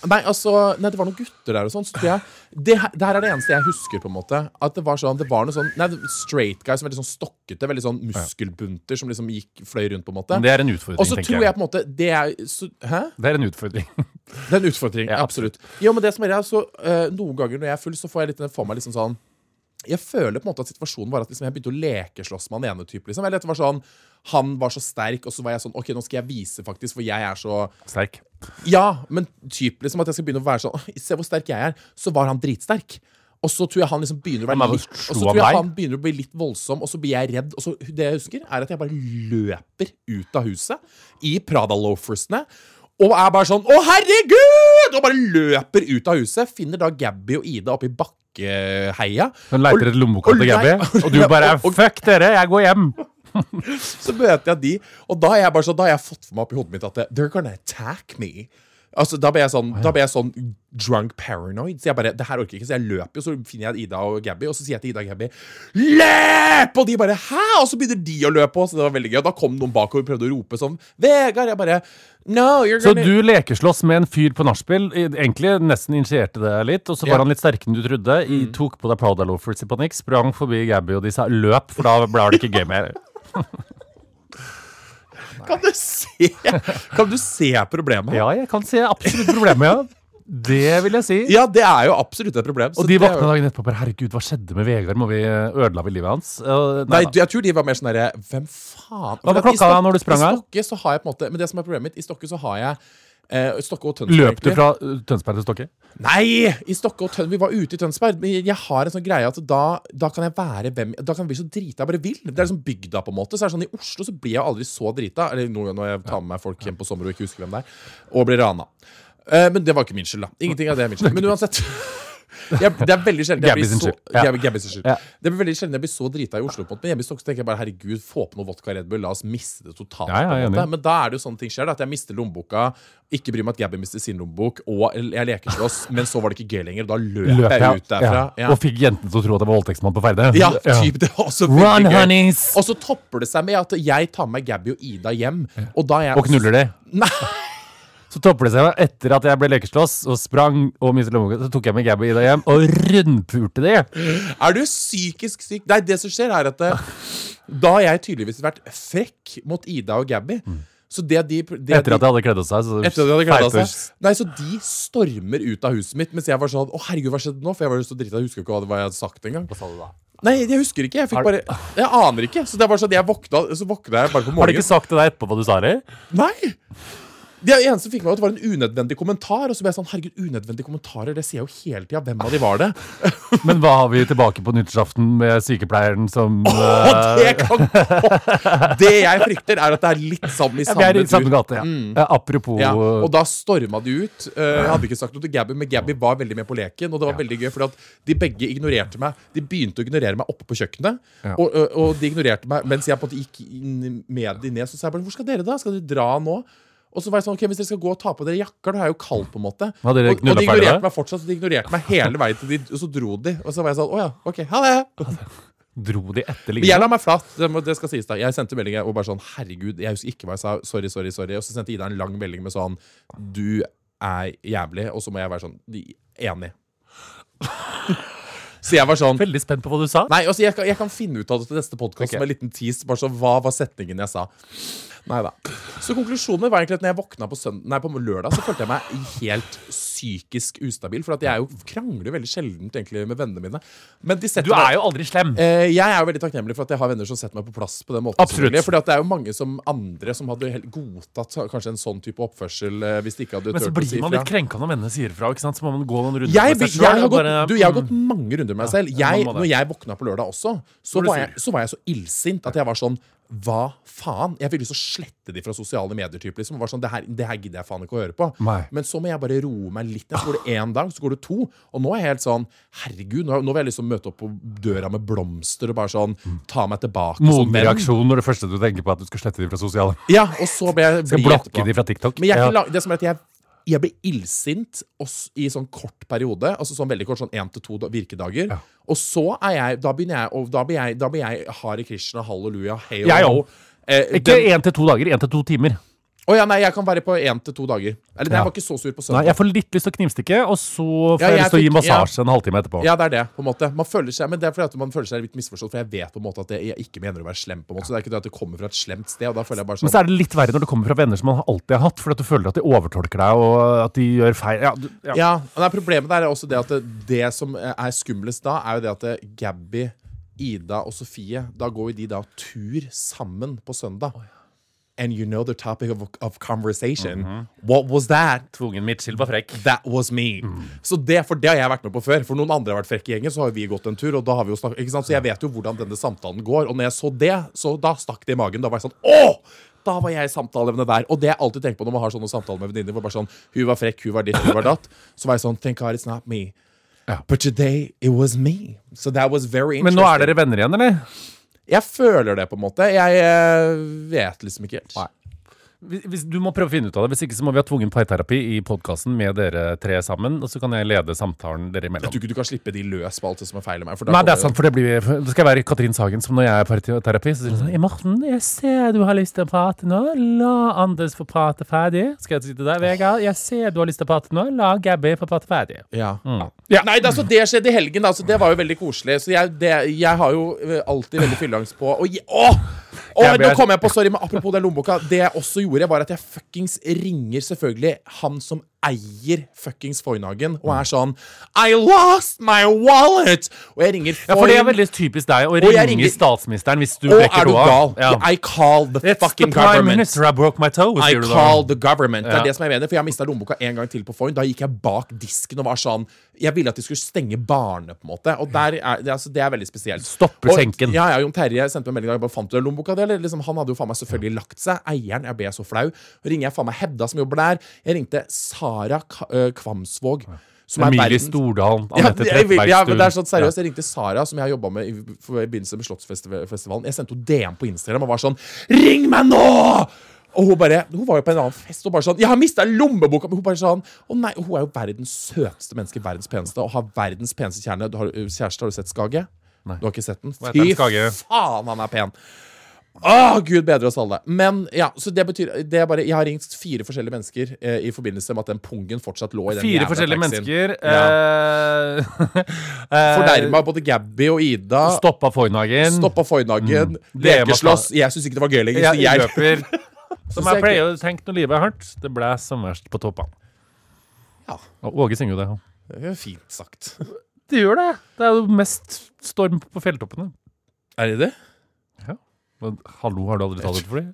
S3: Nei, altså, nei, det var noen gutter der og sånn. Så tror jeg det, her- det her er det eneste jeg husker, på en måte. At det var sånn, det var noe sånn Nei, det- straight guy som veldig sånn stokkete, veldig sånn muskelbunter, som liksom gikk, fløy rundt, på en måte.
S2: Ah, Men det er en utfordring,
S3: og så
S2: tenker
S3: tror
S2: jeg.
S3: jeg på en måte Det er så, Hæ?
S2: Det er en utfordring.
S3: Det er en utfordring.
S2: Ja,
S3: absolutt. Jo, men det som er greia, så eh, Noen ganger når jeg er full, så får jeg litt for meg liksom sånn jeg føler på en måte at situasjonen var at liksom jeg begynte å lekeslåss med han ene typen. Liksom. Eller at det var sånn, Han var så sterk, og så var jeg sånn OK, nå skal jeg vise, faktisk, for jeg er så
S2: Sterk.
S3: ja, men typ liksom at jeg skal begynne å være sånn «Åh, Se hvor sterk jeg er. Så var han dritsterk. Og så tror jeg han liksom begynner å
S2: Han er
S3: være
S2: vel
S3: litt, og så
S2: slo
S3: tror jeg
S2: han deg?
S3: han begynner å bli litt voldsom, og så blir jeg redd. Og så det jeg husker, er at jeg bare løper ut av huset i Prada-loafersene. Og er bare sånn 'Å, herregud!' Og bare løper ut av huset. Finner da Gabby og Ida oppe i bakkeheia.
S2: Hun leiter etter lommeboka
S3: og
S2: til
S3: lei-
S2: Gabby, og du bare
S3: og- og-
S2: 'fuck dere, jeg går hjem'.
S3: Så møter jeg de, og da, er jeg bare sånn, da har jeg fått for meg opp i hodet mitt at They're gonna attack me. Altså, da ble jeg sånn, da ble jeg sånn drunk paranoid. Så jeg bare, det her orker jeg ikke, så jeg løper jo, så finner jeg Ida og Gabby, og så sier jeg til Ida og Gabby Løp! Og de bare Hæ? Og så begynner de å løpe også, så det var veldig gøy. Og da kom noen bakover og prøvde å rope sånn Vegard! Jeg bare No, you're
S2: Så
S3: gonna
S2: du lekeslåss med en fyr på nachspiel, i- egentlig nesten initierte det litt, og så var
S3: Ja. Mm.
S2: han litt sterkere enn du trodde, i, tok på deg Prada Loafers i panikk, sprang forbi Gabby og de sa 'løp', for da ble det ikke gøy mer.
S3: Kan du se Kan du se problemet?
S2: Ja, jeg kan se absolutt problemet, ja. Det vil jeg si.
S3: Ja, det er jo absolutt et problem. så
S2: Og de
S3: det er jo-
S2: våkna dagen etterpå og bare Herregud, hva skjedde med Vegard? Må vi Ødela vi livet hans? Eh,
S3: Nei,
S2: da.
S3: jeg tror de var mer sånn derre Hvem faen?
S2: var
S3: Men
S2: klokka
S3: i Stok-
S2: da når du sprang her?
S3: I Stokke så har jeg på en måte Men det som er problemet mitt, i Stokke så har jeg eh, Stokke og Tønsberg
S2: Løp du
S3: egentlig.
S2: fra eh, Tønsberg til Stokke?
S3: Nei! I Stokke og Tønsberg Vi var ute i Tønsberg. Men jeg har en sånn greie at da, da kan jeg være hvem Da kan jeg bli så drita jeg bare vil. Det er liksom bygda, på en måte. Så er det sånn I Oslo så blir jeg aldri så drita. Eller nå- når jeg tar med meg folk hjem på sommer og ikke husker hvem det er. Og blir rana. Eh, men det var ikke min skyld, da. Ingenting av det er min skyld. Men uansett. Jeg, det er veldig sjelden jeg
S2: Gabby
S3: blir
S2: sin
S3: så
S2: skyld. Ja.
S3: Gabby- Gabby sin skyld.
S2: Ja.
S3: Det blir veldig sjelden jeg blir så drita i Oslo. på en måte Men hjemme i Stokke så tenker jeg bare herregud, få på noe vodka Red Bull. La oss miste det totalt.
S2: Ja, ja,
S3: på en
S2: jeg er
S3: måte.
S2: enig.
S3: Men da er det jo sånne ting skjer. Da, at jeg mister lommeboka, ikke bryr meg at Gabby mister sin lommebok, og jeg lekeslåss, men så var det ikke gøy lenger. og Da løp, jeg ut derfra.
S2: ja.
S3: Ja.
S2: Og fikk jentene til å tro at jeg var voldtektsmann på Ferde?
S3: Ja, typ, det var også veldig
S2: Run,
S3: gøy.
S2: honeys!
S3: Og så topper det seg med at jeg tar med Gabby og Ida hjem. Og, da er jeg
S2: Og knuller de.
S3: Nei,
S2: Så topper det seg etter at jeg ble lekeslåss og sprang og mistet lommeboka, så tok jeg med Gabby Ida hjem og rundpulte de.
S3: er du psykisk syk? Nei, det som skjer, er at eh, da har jeg tydeligvis vært frekk mot Ida og Gabby. Så det de,
S2: Mm.
S3: det
S2: Etter
S3: de,
S2: at de hadde kledd av seg. Så
S3: Etter at de hadde
S2: feite
S3: gleda
S2: og-
S3: seg. Nei, så de stormer ut av huset mitt, mens jeg var sånn Å, herregud, hva skjedde nå? For jeg var jo så drita, jeg husker jo ikke hva det var jeg hadde sagt engang. Nei, jeg husker ikke. Jeg fikk
S2: Har du-
S3: bare Jeg aner ikke. Så det var sånn at jeg våkna Så våkna jeg bare på
S2: Har de ikke
S3: morgenen.
S2: sagt til deg etterpå hva du sa? Eller?
S3: Nei! Det eneste som fikk meg var at det var en unødvendig kommentar. Og så ble jeg sånn Herregud, unødvendige kommentarer, det sier jeg jo hele tida. Hvem av de var det?
S2: Eh. Men hva har vi tilbake på nyttårsaften med sykepleieren som
S3: Og
S2: eh,
S3: det kan Det jeg frykter, er at det er litt sammen i
S2: ja, Vi er i samme
S3: samme tur.
S2: gate, ja. ja apropos
S3: Ja, og da storma de ut. Eh, Jeg hadde ikke sagt noe til Gabby, men Gabby var veldig med på leken. Og det var veldig gøy, fordi at de begge ignorerte meg. De begynte å ignorere meg oppe på kjøkkenet.
S2: Ja.
S3: Og, og, og de ignorerte meg mens jeg på en måte gikk inn med de ned. Så sa jeg bare Hvor skal dere da? Skal dere dra nå? Og så var jeg sånn, ok, Hvis dere skal gå og ta på dere jakker, da er jeg jo kald, på en måte.
S2: Hadde dere
S3: og, og de
S2: knulla ferdig da?
S3: ignorerte meg fortsatt, så de ignorerte meg hele veien til de, og så dro de. Og så var jeg sånn, å ja, ok, ha det.
S2: dro de etter
S3: Men jeg
S2: liksom.
S3: la meg flat. Det, må, det skal sies da Jeg sendte melding og bare sånn Herregud, jeg husker ikke hva jeg sa. Sorry, sorry, sorry. Og så sendte Ida en lang melding med sånn Du er jævlig. Og så må jeg være sånn «De- Enig. så jeg var sånn
S2: Veldig spent på hva du sa.
S3: Nei, altså jeg kan, jeg kan finne ut av det til neste podkast
S2: Ok.
S3: med en liten tease. Bare så, hva var setningen jeg sa? Nei da. Så konklusjonen var egentlig at når jeg våkna på, sønd- nei, på lørdag, så følte jeg meg helt psykisk ustabil. For at jeg er jo krangler jo veldig sjelden egentlig med vennene mine. Men de setter
S2: Du
S3: meg-
S2: er jo aldri slem.
S3: Eh, jeg er jo veldig takknemlig for at jeg har venner som setter meg på plass på den måten.
S2: Mm. Absolutt.
S3: selvfølgelig, Fordi at det er jo mange som andre som hadde helt godtatt kanskje en sånn type oppførsel eh, hvis de ikke hadde
S2: Men så
S3: turt å si
S2: blir man
S3: ifra.
S2: litt krenka når vennene sier fra. ikke sant? Så må man gå noen runder
S3: Jeg,
S2: med
S3: vil-
S2: seg
S3: jeg,
S2: selv,
S3: har
S2: og
S3: gått,
S2: bare- Mm.
S3: du, jeg har gått mange runder med meg selv.
S2: ja,
S3: Jeg,
S2: man må det.
S3: når jeg våkna på lørdag også, så
S2: Ble du
S3: var jeg så, var jeg så illsint at jeg var sånn Hva faen? Jeg fikk lyst til å slette de fra sosiale medier. Typ, liksom. og var sånn, det her, det her gidder jeg faen ikke å høre på.
S2: Nei.
S3: Men så må jeg bare roe meg litt. ned. Så går det én dag, så går det to. Og nå er jeg helt sånn Herregud, nå, nå vil jeg liksom møte opp på døra med blomster og bare sånn Ta meg tilbake. som
S2: Moden Mm. Sånn
S3: venn.
S2: reaksjon når det første du tenker på er at du skal slette de fra sosiale.
S3: Ja, og så ble jeg
S2: Skal
S3: blid etterpå.
S2: blokke de fra TikTok.
S3: Men jeg, er ikke
S2: Ja.
S3: la- det som er at jeg, jeg ble illsint også i sånn kort periode, altså sånn veldig kort, sånn én til to da- virkedager.
S2: Ja.
S3: Og så er jeg Da begynner jeg, og da blir jeg, da blir jeg Hare Krishna, halleluja, hei og
S2: Jeg
S3: ho.
S2: òg.
S3: Eh,
S2: Ikke
S3: den-
S2: én til to dager, én til to timer.
S3: Å ja, nei, jeg kan være på én til to dager. Eller nei,
S2: Ja.
S3: jeg var ikke så sur på
S2: Nei,
S3: søndag.
S2: Jeg får litt lyst til å knivstikke, og så får
S3: Ja,
S2: Sånn. jeg
S3: jeg
S2: lyst til å gi
S3: fikk- ja.
S2: massasje en halvtime etterpå.
S3: Ja, det er det, på en måte. Man føler seg, men det er fordi at man føler seg litt misforstått, for jeg vet på en måte at jeg, jeg ikke mener å være slem. på en måte Så det er ikke det at det kommer fra et slemt sted. Og da føler jeg
S2: Men
S3: bare sånn
S2: så er det litt verre når det kommer fra venner som man alltid har hatt, fordi at du føler at de overtolker deg, og at de gjør feil. Ja, du, ja.
S3: Ja, nei, Problemet der er også det at det, det som er skumlest da, er jo det at det, Gabby, Ida og Sofie Da går jo de da tur sammen på søndag. And you know the topic of, of conversation. What was that?
S2: Tvungen Mitchell var frekk.
S3: That was me. Så det, For det har jeg vært med på før. For noen andre har vært frekke i gjengen, så har vi gått en tur. og da har vi jo snakket, ikke sant? Så jeg vet jo hvordan denne samtalen går. Og når jeg så det, så da stakk det i magen. Da var jeg sånn Åh! Da var jeg samtaleevne der. Og det jeg alltid tenker på når man har sånne samtaler med venninner, hvor bare sånn Hun var frekk, hun var ditt, hun var datt. Så var jeg sånn Thank God it's not me.
S2: Ja.
S3: But today it was me. So that was very
S2: Men
S3: interesting.
S2: nå er dere venner igjen, eller?
S3: Jeg føler det, på en måte. Jeg eh, vet liksom ikke helt.
S2: Nei. Hvis, hvis, du må prøve å finne ut av det. Hvis ikke så må vi ha tvungen parterapi i podkasten med dere tre sammen, og så kan jeg lede samtalen dere
S3: Jeg
S2: imellom.
S3: tror ikke du kan slippe de løs på alt det som er feil med meg. For da
S2: Nei, det er
S3: kommer-
S2: sant, for det blir Det skal være Katrin Sagen som når jeg er i parterapi, så sier hun sånn «Hey, Morten, jeg ser du har lyst til å prate nå. La Anders få prate ferdig. Skal jeg si til deg, Vegard, jeg ser du har lyst til å prate nå. La Gabby få prate ferdig.
S3: Ja. ja. Nei, det, altså, det skjedde i helgen, da, så det var jo veldig koselig. Så jeg, det, jeg har jo eh, alltid veldig fylleangst på Og je- åh! Åh,
S2: Jeg ble-
S3: nå kom jeg på, sorry, men Apropos den lommeboka. Det jeg også gjorde, var at jeg fuckings ringer selvfølgelig han som eier fuckings Foynhagen og er sånn I lost my wallet! Og jeg ringer
S2: Ja, for det er veldig typisk deg å
S3: jeg
S2: ringe
S3: ringer-
S2: statsministeren hvis du
S3: Å,
S2: brekker
S3: er du
S2: tåa.
S3: gal?
S2: Ja.
S3: I call the
S2: It's the
S3: fucking
S2: prime
S3: government.
S2: minister, I broke my toe,
S3: I
S2: sier du da.
S3: call the government. Det
S2: Ja.
S3: er det som jeg mener, for jeg mista lommeboka en gang til på Foyn. Da gikk jeg bak disken og var sånn Jeg ville at de skulle stenge barene, på en måte. Og der er, det, altså, det er veldig spesielt.
S2: Stopper
S3: og,
S2: senken.
S3: Ja, ja, Jon Terje sendte meg en melding og jeg bare fant du lommeboka di, eller? Liksom, han hadde jo faen meg selvfølgelig lagt seg. Eieren, jeg ble så flau. Og ringer jeg faen meg Hedda som jobber der. Jeg ringte Sara K øh, Kvamsvåg. Som
S2: Emilie
S3: verdens-
S2: Stordalen,
S3: ja,
S2: Anette
S3: jeg vil- ja, men det er
S2: Trettebergstuen.
S3: sånn seriøst. Jeg ringte Sara, som jeg har jobba med i forbindelse med Slottsfestivalen. Jeg sendte henne DM på Instagram og var sånn Ring meg nå! Og hun bare, hun var jo på en annen fest og bare sånn Jeg har mista lommeboka! Men hun bare sånn Å nei, hun er jo verdens søteste menneske, verdens peneste, og har verdens peneste kjerne. Du har, kjæreste, har du sett Skage? Du har ikke sett den?
S2: heter den, Skage?
S3: faen, han er pen! Å, Gud bedre oss alle. Men ja, så det betyr det er bare, Jeg har ringt fire forskjellige mennesker eh, i forbindelse med at den pungen fortsatt lå i den
S2: Fire
S3: jævla
S2: forskjellige mennesker.
S3: taxien. Ja.
S2: eh,
S3: Fornærma både Gabby og Ida.
S2: Stoppa Foynhagen.
S3: Stoppa Foynhagen.
S2: Mm. Det var
S3: Lekeslåss. Jeg syns ikke det var gøy lenger.
S2: Ja,
S3: så jeg-
S2: løper. Som
S3: Synes
S2: jeg
S3: jeg
S2: pleier å tenke når livet er hardt. Det blæs som verst på toppene.
S3: Ja,
S2: Og Åge synger jo det. han.
S3: det er fint sagt.
S2: Det gjør det. Det er jo mest storm på fjelltoppene.
S3: Er det det?
S2: Ja. Men hallo, har du aldri tatt ut for det?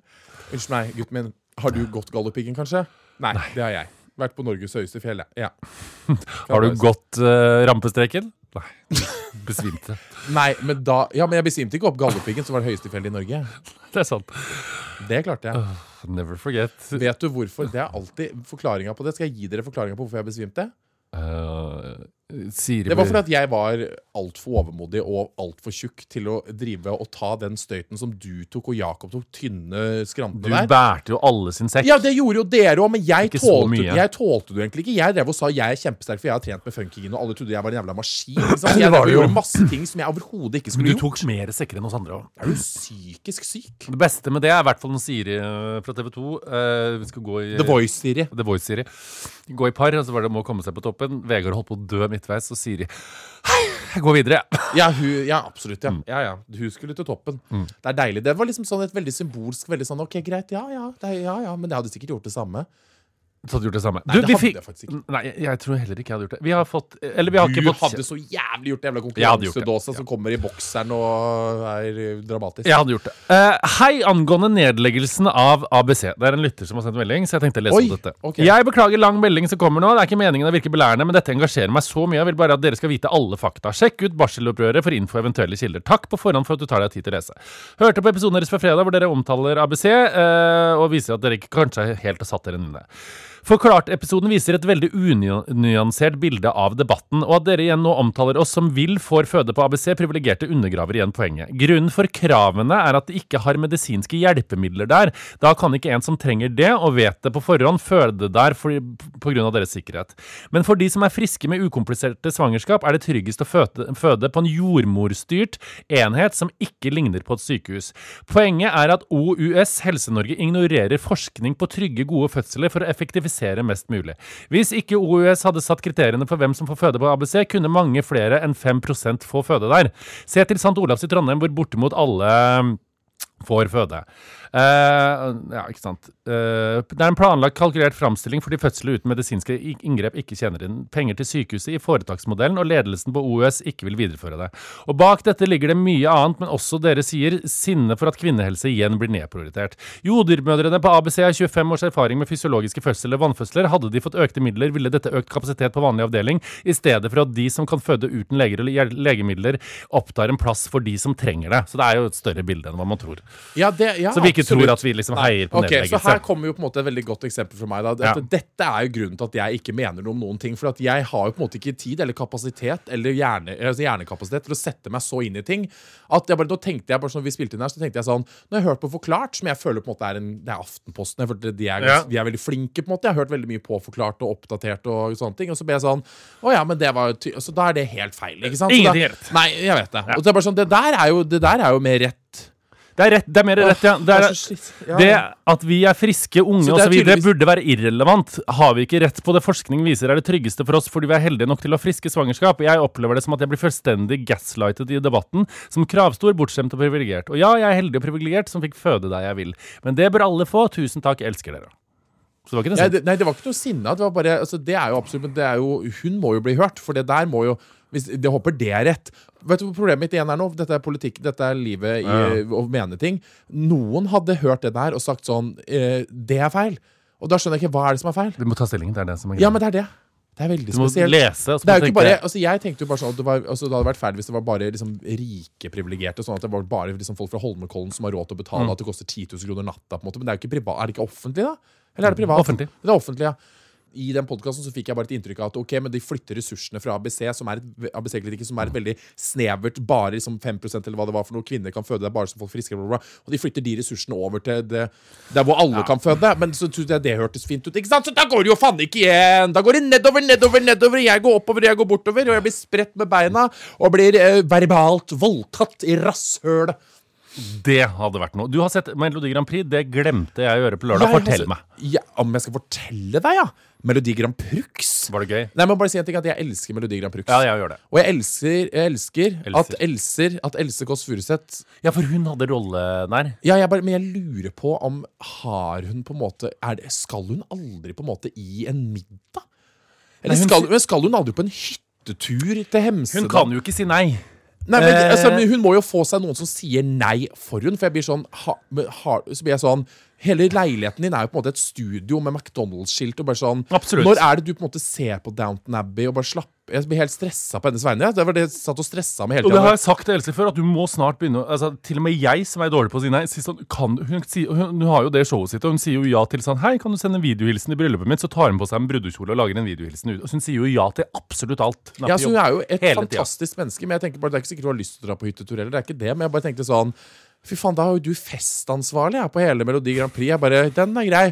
S3: Unnskyld meg, gutten min. Har du gått Galdhøpiggen, kanskje? Nei, det har jeg. Vært på Norges høyeste fjell, jeg. ja.
S2: Har du gått eh, rampestreken? Nei. Besvimte.
S3: Nei, men da Ja, men jeg besvimte ikke opp Galdhøpiggen, som var det høyeste fjellet i Norge.
S2: Det er sant.
S3: Det klarte jeg.
S2: Never forget.
S3: Vet du hvorfor? Det er alltid forklaringa på det. Skal jeg gi dere forklaringa på hvorfor jeg besvimte?
S2: Eh, Siri
S3: Det var fordi at jeg var altfor overmodig og altfor tjukk til å drive og ta den støyten som du tok og Jakob tok, tynne skrantene
S2: Du
S3: der.
S2: bærte jo alle sin sekk.
S3: Ja, det gjorde jo dere òg, men jeg
S2: Ikke så
S3: tålte,
S2: mye.
S3: jeg tålte det egentlig ikke. Jeg drev og sa jeg er kjempesterk, for jeg har trent med funkygin, og alle trodde jeg var en jævla maskin. Ikke sant?
S2: Det
S3: Jeg
S2: var
S3: drev
S2: du
S3: og
S2: jo.
S3: gjorde masse ting som jeg overhodet ikke
S2: Men
S3: skulle
S2: du
S3: gjort.
S2: tok mer sekker enn oss andre òg.
S3: Er du psykisk syk?
S2: Det beste med det er i hvert fall når Siri eh, fra TV 2 eh, Vi skal gå i
S3: The Voice, Siri.
S2: The Voice, Siri. Gå i par, og så var det må komme seg på toppen. Vegard holdt på å dø midtveis, og Siri Hei, jeg går videre.
S3: Ja, hun, ja absolutt.
S2: Mm.
S3: Ja. ja, ja. Hun skulle til toppen. Det er deilig. Det var liksom sånn et veldig symbolsk veldig sånn OK, greit, ja ja, det, er- ja, ja. Men jeg hadde sikkert gjort det samme.
S2: Så hadde du gjort det samme.
S3: Nei, det hadde jeg faktisk ikke.
S2: Nei, jeg, jeg tror heller ikke jeg hadde gjort det. Vi har fått Eller vi har
S3: Du
S2: ikke fått
S3: hadde så jævlig gjort det jævla
S2: Jeg hadde gjort det.
S3: konkurransedåsa som kommer i bokseren og er eh, dramatisk.
S2: Jeg hadde gjort det. Eh, hei angående nedleggelsen av ABC. Det er en lytter som har sendt melding, så jeg tenkte å lese
S3: Oi,
S2: opp dette.
S3: ok.
S2: Jeg beklager lang melding som kommer nå. Det er ikke meningen å virke belærende, men dette engasjerer meg så mye. Jeg vil bare at dere skal vite alle fakta. Sjekk ut barselopprøret for info og eventuelle kilder. Takk på forhånd for at du tar deg tid til å lese. Hørte på episoden deres fra fredag hvor dere omtaler ABC, eh, og viser at dere ikke kanskje helt har satt dere inn i det. Forklart-episoden viser et veldig unyansert bilde av debatten, og at dere igjen nå omtaler oss som vil får føde på ABC, privilegerte undergraver igjen poenget. Grunnen for kravene er at de ikke har medisinske hjelpemidler der. Da kan ikke en som trenger det, og vet det på forhånd, føde der for, på grunn av deres sikkerhet. Men for de som er friske med ukompliserte svangerskap, er det tryggest å føde, føde på en jordmorstyrt enhet som ikke ligner på et sykehus. Poenget er at OUS Helse-Norge ignorerer forskning på trygge, gode fødsler for å effektivisere mest mulig. Hvis ikke OUS hadde satt kriteriene for hvem som får føde på ABC, kunne mange flere enn 5 få føde der. Se til St. Olavs i Trondheim, hvor bortimot alle får føde. Eh, ja, ikke sant. Eh, det er en planlagt kalkulert framstilling fordi fødsler uten medisinske i- inngrep ikke tjener inn penger til sykehuset i foretaksmodellen, og ledelsen på OUS ikke vil videreføre det. Og Bak dette ligger det mye annet, men også dere sier sinne for at kvinnehelse igjen blir nedprioritert. Jordmødrene på ABC har 25 års erfaring med fysiologiske fødsler og vannfødsler. Hadde de fått økte midler, ville dette økt kapasitet på vanlig avdeling, i stedet for at de som kan føde uten leger og le- legemidler, opptar en plass for de som trenger det. Så det er jo et større bilde enn hva man tror.
S3: Ja, det, ja,
S2: Så vi ikke
S3: absolutt.
S2: tror at vi liksom heier på
S3: Ok, Så
S2: nedleggelse.
S3: her kommer jo på en måte et veldig godt eksempel fra meg. Da. Dette, dette er jo grunnen til at jeg ikke mener noe om noen ting. For at jeg har jo på en måte ikke tid eller kapasitet eller hjerne, altså hjernekapasitet til å sette meg så inn i ting. At jeg bare, da tenkte jeg bare sånn, vi spilte inn her, så tenkte jeg sånn Når jeg hørte på Forklart, som jeg føler på en måte er en, det er Aftenposten jeg følte de er,
S2: Ja.
S3: de er veldig flinke på en måte Jeg har hørt veldig mye på Forklart og oppdatert og sånne ting. Og så ble jeg sånn Å ja, men det var jo ty Så da er det helt feil, ikke sant? Så
S2: Ingenting
S3: da-
S2: er rett.
S3: Nei, jeg vet det. Og det er bare sånn, det der er jo, det der er jo mer rett.
S2: Det er, rett, det er mer rett, ja. Det,
S3: Det er
S2: er,
S3: så slitt. Ja,
S2: det
S3: ja.
S2: at vi er friske, unge
S3: Så det er
S2: osv.
S3: tydeligvis-
S2: burde være irrelevant. Har vi ikke rett på det forskning viser er det tryggeste for oss fordi vi er heldige nok til å ha friske svangerskap? Jeg opplever det som at jeg blir fullstendig gaslightet i debatten, som kravstor, bortskjemt og privilegert. Og ja, jeg er heldig og privilegert som fikk føde der jeg vil. Men det bør alle få. Tusen takk, elsker dere. Så det var ikke noe
S3: Ja,
S2: sånt.
S3: det, nei, det var ikke noe sinne. Det, var bare, altså, det er jo absolutt Men det er jo, hun må jo bli hørt, for det der må jo hvis, Det håper det er rett. Vet du hva Problemet mitt igjen er nå Dette er politikk, dette er livet i, å mene ting. Noen hadde hørt det der og sagt sånn eh, Det er feil. Og da skjønner jeg ikke hva er det som er feil.
S2: Du må ta stilling. Det er det som er
S3: Ja,
S2: greia.
S3: men det er det. Det er veldig
S2: du må
S3: spesielt.
S2: lese, og så
S3: Det
S2: må
S3: er
S2: du
S3: jo ikke
S2: tenke
S3: bare, altså jeg tenkte jo bare sånn at det, var, altså det hadde vært feil hvis det var bare liksom rike privilegerte. Sånn at det var bare liksom folk fra Holmenkollen som har råd til å betale
S2: Mm.
S3: at det koster 10 000 kroner natta. på en måte Men det er jo ikke privat, er det ikke offentlig, da? Eller er det privat?
S2: Offentlig.
S3: Det er offentlig, ja. I den podkasten fikk jeg bare et inntrykk av at ok, men de flytter ressursene fra ABC, som er et ABC-klinikken, som er et veldig snevert bare liksom 5 eller hva det var for noe. Kvinner kan føde, det er bare som folk friske, bla, bla, bla. Og de flytter de ressursene over til det, der hvor alle kan føde. Men så syntes jeg det hørtes fint ut. ikke sant? Så da går det jo faen ikke igjen! Da går det nedover, nedover, nedover. Jeg går oppover, jeg går bortover. Og jeg blir spredt med beina og blir eh, verbalt voldtatt i rasshølet.
S2: Det hadde vært noe. Du har sett Melodi Grand Prix. Det glemte jeg å gjøre på lørdag.
S3: Jeg har
S2: Fortell
S3: sett-
S2: meg.
S3: altså, Ja, om jeg skal fortelle deg, ja? Melodi Grand Prux?
S2: Var det gøy?
S3: Nei, men bare si en ting at Jeg elsker Melodi Grand Prix.
S2: Ja, jeg gjør det.
S3: Og jeg elsker, jeg elsker at
S2: Elser.
S3: Elser At Else Kåss Furuseth
S2: Ja, for hun hadde rolle der.
S3: ja, jeg bare, Men jeg lurer på om Har hun på en måte er det, Skal hun aldri på en måte i en middag?
S2: Nei,
S3: Eller
S2: hun
S3: skal,
S2: sier-
S3: men skal hun aldri på en hyttetur til
S2: Hun
S3: Hemsedal?
S2: kan jo ikke si nei.
S3: Nei, men,
S2: Eh.
S3: altså, men Hun må jo få seg noen som sier nei for hun For jeg blir sånn, ha, men har, så blir jeg sånn Hele leiligheten din er jo på en måte et studio med McDonald's-skilt. og bare sånn,
S2: Absolutt.
S3: Når er det du på en måte ser på Downton Abbey og bare slapper Jeg blir helt stressa på hennes vegne. Det var det jeg satt og stressa med hele
S2: Og det
S3: tiden.
S2: har jeg sagt til Else før, at du må snart begynne å- altså, Til og med jeg, som er dårlig på å si nei, sier sånn kan, du- hun, sier- hun, hun har jo det showet sitt, og hun sier jo ja til sånn Hei, kan du sende en videohilsen i bryllupet mitt? Så tar hun på seg en brudekjole og lager en videohilsen ut. Og hun sier jo ja til absolutt alt. Hun er
S3: Ja,
S2: på
S3: så hun
S2: jobb
S3: er jo et
S2: hele tiden.
S3: fantastisk menneske, men jeg tenker bare, det er ikke sikkert du har lyst til å dra på hyttetur heller. Det er ikke det, men jeg bare tenkte sånn Fy faen, da er jo du festansvarlig jeg, på hele Melodi Grand Prix. Jeg bare, Den er grei.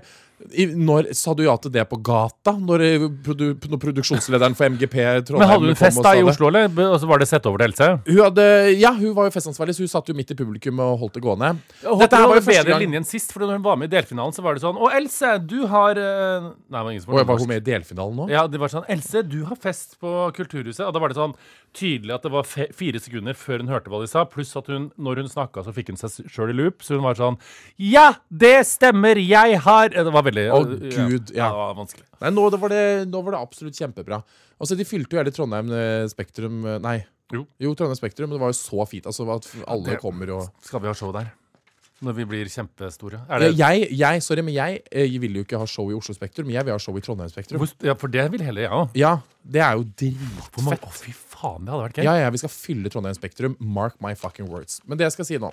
S3: I, når Sa du ja til det på gata? Når, eh, produ, når produksjonslederen for MGP Trondheim
S2: Men hadde hun
S3: kom og
S2: fest da
S3: sa
S2: i
S3: det?
S2: Oslo, eller? Be- Og så var det sett over til Else?
S3: Hun hadde, ja, hun var jo festansvarlig, så hun satt jo midt i publikum og holdt det gående.
S2: Dette
S3: her
S2: var jo bedre linje enn sist, for da hun var med i delfinalen, så var det sånn Å, Else, du har eh, Nei, det var ingen som
S3: Og jeg var
S2: norsk.
S3: hun med i delfinalen nå?
S2: Ja, det var sånn Else, du har fest på Kulturhuset. Og da var det sånn tydelig at det var fe fire sekunder før hun hørte hva de sa. Pluss at hun, når hun snakka, så fikk hun seg sjøl i loop. Så hun var sånn Ja, det stemmer! Jeg har Det var veldig
S3: Å, Gud, ja.
S2: Det var vanskelig.
S3: Nei, nå, det var det, nå var det absolutt kjempebra. Altså, De fylte jo hele Trondheim eh, Spektrum eh, Nei.
S2: Jo.
S3: Trondheim Spektrum, men det var jo så fint. Altså, at alle
S2: Det-
S3: kommer og
S2: Skal vi ha show der? Når vi blir kjempestore? Er det,
S3: jeg, jeg, Sorry, men jeg, eh, vil jo ikke ha show i Oslo Spektrum, men jeg vil ha show i Trondheim Spektrum.
S2: Hvor- ja, for det vil heller jeg òg.
S3: Ja, det er jo
S2: Hvor mange-
S3: dritfett.
S2: Å, fy faen, det hadde vært gøy.
S3: Ja, ja, vi skal fylle Trondheim Spektrum. Mark my fucking words. Men det jeg skal si nå,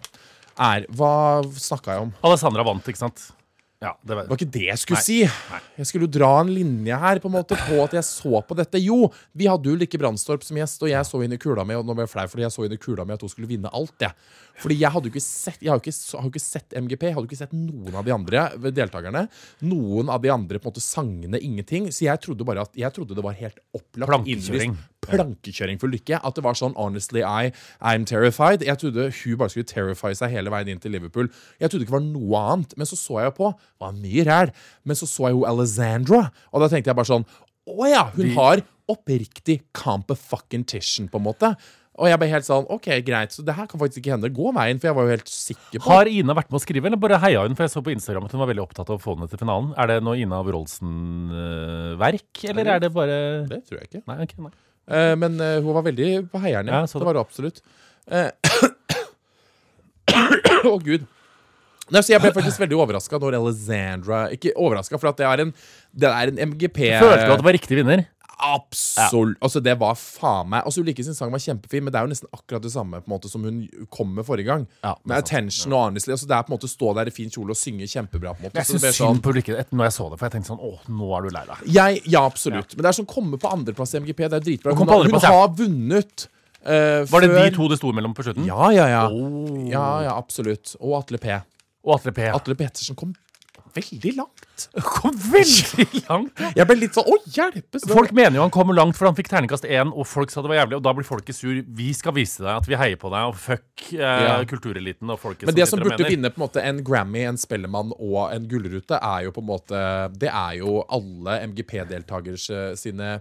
S3: er Hva snakka jeg om?
S2: Alessandra vant, ikke sant? Ja, det var
S3: Det var ikke det jeg skulle si. Jeg skulle jo dra en linje her på en måte på at jeg så på dette. Jo, vi hadde jo Lykke Brandstorp som gjest, og jeg så inn i kula mi og nå ble jeg flau fordi jeg så inn i kula mi at hun skulle vinne alt. Jeg. Fordi jeg hadde jo ikke sett Jeg har jo ikke, s- har jo ikke sett MGP, jeg hadde jo ikke sett noen av de andre deltakerne. Noen av de andre på en måte sangene ingenting. Så jeg trodde bare at Jeg trodde det var helt opplagt
S2: Plankekjøring.
S3: innvist plankekjøring for Lykke. At det var sånn Honestly, I, I'm terrified. Jeg trodde hun bare skulle terrify seg hele veien inn til Liverpool. Jeg trodde ikke det var noe annet. Men så så jeg på det var mye ræl. Men så så jeg jo Alessandra, og da tenkte jeg bare sånn Å ja, hun har oppriktig competition, på en måte. Og jeg ble helt sånn OK, greit, så det her kan faktisk ikke hende. Gå veien, for jeg var jo helt sikker på
S2: Har Ina vært med å skrive, eller bare heia hun? For jeg så på Instagram at hun var veldig opptatt av å få henne til finalen. Er det noe Ina Wroldsen-verk, eller er det bare
S3: Det tror jeg ikke.
S2: Nei, ok, nei.
S3: Eh, men eh, hun var veldig på heierne.
S2: Ja,
S3: Ja,
S2: jeg så
S3: det
S2: det.
S3: var hun absolutt. Eh, Å, gud. Nei, så jeg ble faktisk veldig overraska når Alessandra Ikke overraska, for at det er en, det er en MGP
S2: Følte du at det var riktig vinner?
S3: Absolutt. Altså, det var faen meg Altså, Ulrikke sin sang var kjempefin, men det er jo nesten akkurat det samme på en måte som hun kom med forrige gang.
S2: Ja, det er
S3: med
S2: sant.
S3: attention og honestly. Altså, det er på en måte stå der i fin kjole og synge kjempebra. på en måte
S2: Jeg
S3: Så det
S2: syns
S3: ble sånn-
S2: synd på Ulrikke et- når jeg så det, for jeg tenkte sånn Å, nå er du lei deg.
S3: Jeg, ja, absolutt. Men det er sånn komme på andreplass i MGP. Det er dritbra.
S2: Og kom
S3: Hun,
S2: på
S3: har- hun
S2: andreplass, ja.
S3: har vunnet eh,
S2: Var det
S3: før
S2: de to det sto mellom på slutten?
S3: Ja, ja, ja.
S2: Oh.
S3: ja, ja absolutt. Og Atle P.
S2: Og Atle P.
S3: Atle Petersen kom veldig langt.
S2: kom veldig langt!
S3: Jeg ble litt sånn Å, hjelpes! det var-
S2: Folk mener jo han kommer langt, for han fikk terningkast én, og folk sa det var jævlig, og da blir folket sur. Vi skal vise deg at vi heier på deg, og fuck eh, kultureliten og folket
S3: Men det som
S2: sitter og
S3: burde
S2: mener.
S3: vinne på en måte en Grammy, en Spellemann og en gullrute, er jo på en måte Det er jo alle MGP-deltakers eh, sine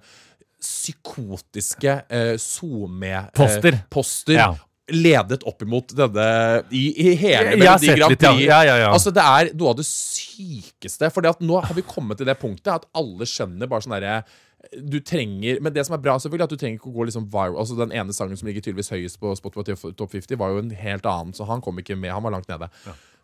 S3: psykotiske eh, SoMe-poster.
S2: Poster.
S3: poster
S2: Ja.
S3: ledet opp imot denne i, i hele
S2: Jeg har
S3: Melodi
S2: sett
S3: Grand
S2: litt, ja.
S3: Prix.
S2: Ja, ja, ja.
S3: Altså, det er noe av det sykeste. For nå har vi kommet til det punktet at alle skjønner bare sånn derre du trenger, Men det som er bra, selvfølgelig er at du trenger ikke å gå liksom viral. Altså Den ene sangen som ligger tydeligvis høyest på Spotify Top 50, var jo en helt annen, så han kom ikke med. Han var langt nede.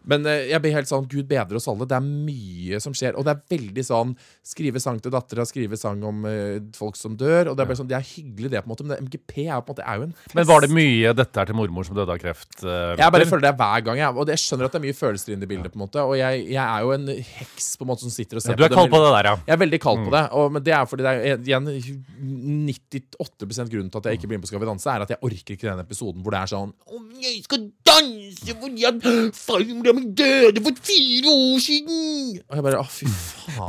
S3: Men eh, jeg blir helt sånn Gud bedre oss alle. Det er mye som skjer. Og det er veldig sånn Skrive sang til dattera, skrive sang om eh, folk som dør. Og Det er bare sånn, det er hyggelig, det, på en måte men det, MGP er jo på en måte er jo en
S2: Men var det mye 'dette er til mormor som døde av kreft'? eh,
S3: jeg bare
S2: Petter?
S3: føler det hver gang. Jeg, og det- jeg skjønner at det er mye følelser inne i bildet. på en måte Og jeg, jeg er jo en heks på en måte som sitter og ser
S2: Ja, du er
S3: på
S2: kald på det Mm. der, ja.
S3: Jeg er veldig kald på det. Og, men det er fordi det er igjen 98 grunnen til at jeg ikke blir med på Skal vi danse, er at jeg orker ikke den episoden hvor det er sånn Om jeg skal danse fordi at farmora mi døde for fire år siden! Og jeg bare Å, fy faen.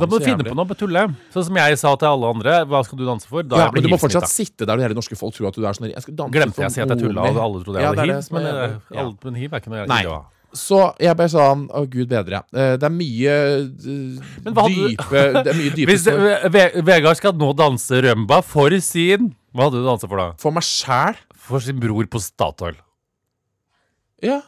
S2: Mm. Da må
S3: så
S2: du finne
S3: jævlig.
S2: på noe på tulle. Sånn som jeg sa til alle andre, hva skal du danse for? Da
S3: Ja,
S2: jeg ble
S3: men du må
S2: hivsmitta.
S3: fortsatt sitte der det hele norske folk tror at du er sånn jeg skal danse
S2: Glemte
S3: for
S2: jeg å si at jeg
S3: moren
S2: tulla,
S3: min.
S2: og alle trodde jeg
S3: Ja,
S2: hadde
S3: det er det
S2: hiv?
S3: som er
S2: Men, eh,
S3: jævlig. Ja.
S2: alle- men hiv er ikke noe jeg
S3: Nei.
S2: ikke har.
S3: Så jeg bare sånn Å, gud bedre. Eh, Det er mye eh,
S2: Men hva hadde du-
S3: dype Det er mye dype
S2: Hvis eh, Ve- Vegard skal nå danse rømba for sin Hva hadde du dansa for da?
S3: For meg sjæl?
S2: For sin bror på Statoil.
S3: Ja.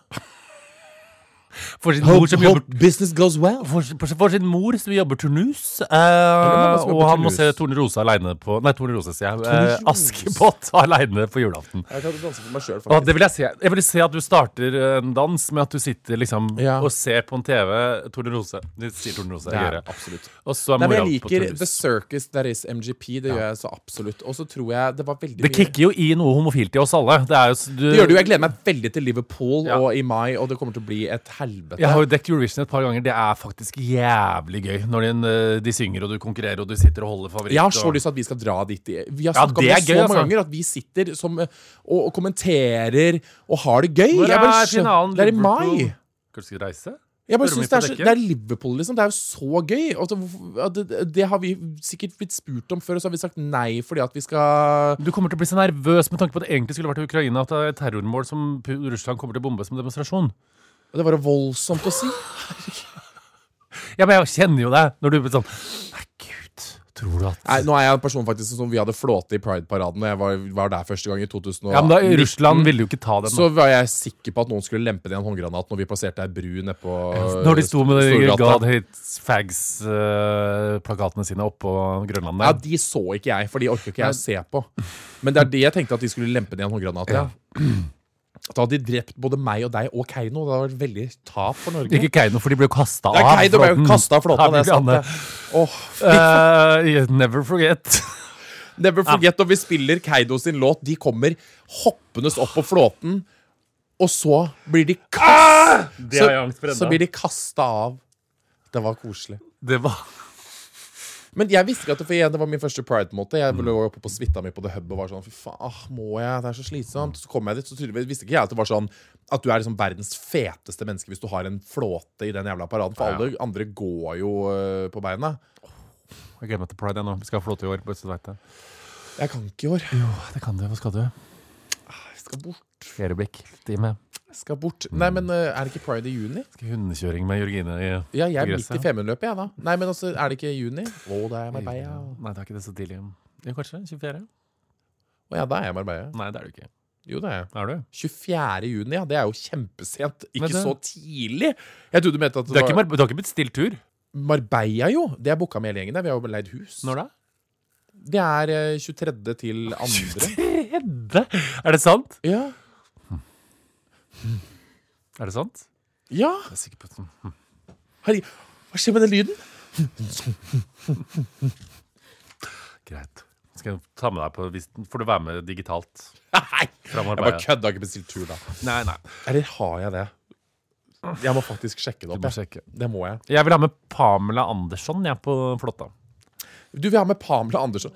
S2: For sin mor som jobber
S3: business goes well.
S2: for, for, for sin mor som jobber turnus, eh,
S3: mamma
S2: og
S3: som jobber
S2: han må
S3: turnus.
S2: se Torne Rose aleine på Nei, Torne Rose, sier jeg. Eh,
S3: Tornerose.
S2: Askepott aleine på julaften.
S3: Jeg kan danse for meg sjøl,
S2: Og
S3: faktisk.
S2: det vil jeg, se. jeg vil se at du starter eh, en dans med at du sitter liksom
S3: Ja.
S2: og ser på en TV Torne Rose. Det sier Torne Rose. jeg
S3: Det er
S2: gjør det.
S3: absolutt.
S2: Og så er
S3: Nei, men
S2: mora
S3: jeg
S2: på
S3: liker The
S2: turnus.
S3: Circus That Is MGP. Det gjør jeg så absolutt. Og så tror jeg det var veldig
S2: Det
S3: mye
S2: kicker jo i noe homofilt i oss alle. Det er jo, s- du,
S3: det gjør det jo. Jeg gleder meg veldig til Liverpool
S2: Ja.
S3: og i mai, og det kommer til å bli et helvete.
S2: Jeg har jo dekket Eurovision et par ganger. Det er faktisk jævlig gøy når de, eh, de synger og du konkurrerer og du sitter og holder favoritt.
S3: Jeg har så
S2: og-
S3: lyst til at vi skal dra dit. i- Vi har
S2: Ja,
S3: snakket om
S2: det er
S3: det så
S2: gøy,
S3: mange
S2: altså.
S3: ganger at vi sitter som, eh, og, og kommenterer og har det gøy.
S2: Hvor
S3: Jeg bare
S2: er
S3: skjøn-
S2: finalen?
S3: Det er i
S2: Liverpool?
S3: mai.
S2: Kanskje du skal reise?
S3: Jeg
S2: Spør om
S3: bare synes
S2: vi
S3: det, er
S2: får
S3: så,
S2: dekke?
S3: det er Liverpool, liksom. Det er jo så gøy. Altså, hvorfor- ja, det, det har vi sikkert blitt spurt om før, og så har vi sagt nei fordi at vi skal
S2: Du kommer til å bli så nervøs med tanke på at det egentlig skulle vært i Ukraina at det er et terrormål som Pu- Russland kommer til å bombe som demonstrasjon.
S3: Det var jo voldsomt å si.
S2: Ja, men jeg kjenner jo deg når du blir sånn Nei, gud, tror du at
S3: Nei, nå er jeg en person faktisk som vi hadde flåte i Pride-paraden, og jeg var, var der første gang i 2000.
S2: Ja, men da, Russland ville jo ikke ta den.
S3: så var jeg sikker på at noen skulle lempe ned en håndgranat når vi passerte ei bru nedpå
S2: Når de sto med de
S3: Storgata.
S2: God Hates Fags-plakatene eh, sine oppå Grønland
S3: Ja,
S2: der.
S3: de så ikke jeg, for de orker ikke jeg å se på. Men det er det jeg tenkte at de skulle lempe ned en håndgranat. Ja. Da hadde de drept både meg og deg og Keiino. Det hadde vært veldig tap for Norge.
S2: Ikke Keiino, for de ble jo kasta av.
S3: Ja, Keiino ble jo
S2: flåten.
S3: kastet av flåten,
S2: Ja,
S3: det er
S2: blir
S3: sant,
S2: han det.
S3: Åh,
S2: Eh, yeah, never forget.
S3: never forget når vi spiller Keiino sin låt. De kommer hoppende opp på flåten, og så blir de kast...
S2: Ah! Det har jeg angst for
S3: så,
S2: enda.
S3: så blir de kasta av. Det var koselig.
S2: Det var
S3: Men jeg visste ikke at det, for igjen, det var min første pride-måte. Jeg lå oppe på suita mi på The Hub og var sånn Fy faen, ah, må jeg? Det er så slitsomt. Så kom jeg dit, så tydeligvis visste ikke jeg at det var sånn at du er liksom verdens feteste menneske hvis du har en flåte i den jævla paraden. For
S2: Ja.
S3: alle andre går jo øh, på beina.
S2: Jeg gleder meg til pride jeg, nå. Vi skal ha flåte i år. Bare så du vet det.
S3: Jeg kan ikke i år.
S2: Jo, det kan du. Hva skal du?
S3: Jeg skal bort.
S2: Ereblikk. Time.
S3: Jeg skal bort. Nei, men øh, er det ikke pride i juni?
S2: Skal hundekjøring med Jørgine i
S3: Ja, jeg
S2: i
S3: er midt
S2: gresset,
S3: i Femundløpet, jeg, da. Nei, men altså, er det ikke i juni? Å, da er jeg i Marbella.
S2: Nei, det er ikke det så tidlig. Ja, kanskje? 24?
S3: Å ja, da er jeg i Marbella.
S2: Nei, det er du ikke.
S3: Jo, det er jeg.
S2: Er du?
S3: 24. juni, ja. Det er jo kjempesent. Ikke
S2: Men det-
S3: så tidlig. Jeg trodde du mente at det,
S2: Du har
S3: var
S2: ikke, mar- du har ikke blitt stilt tur?
S3: Marbella, jo. Det er booka med hele gjengen. der. Vi har jo leid hus.
S2: Når da?
S3: Det er eh, 23. til 2.
S2: Tredje? Er det sant?
S3: Ja.
S2: Er det sant?
S3: ja.
S2: Jeg er sikker på sånn- det.
S3: Herregud. Hva skjer med den lyden?
S2: Greit. Skal jeg ta med deg på hvis, Får du være med digitalt?
S3: Nei!
S2: Fra
S3: Jeg
S2: Marbella.
S3: bare kødda ikke bestilt tur, da.
S2: Nei, nei.
S3: Eller har jeg det? Jeg må faktisk sjekke det
S2: Du
S3: opp.
S2: må
S3: jeg.
S2: sjekke.
S3: Det må jeg.
S2: Jeg vil ha med Pamela Andersson jeg, på flåtta.
S3: Du vil ha med Pamela Andersson.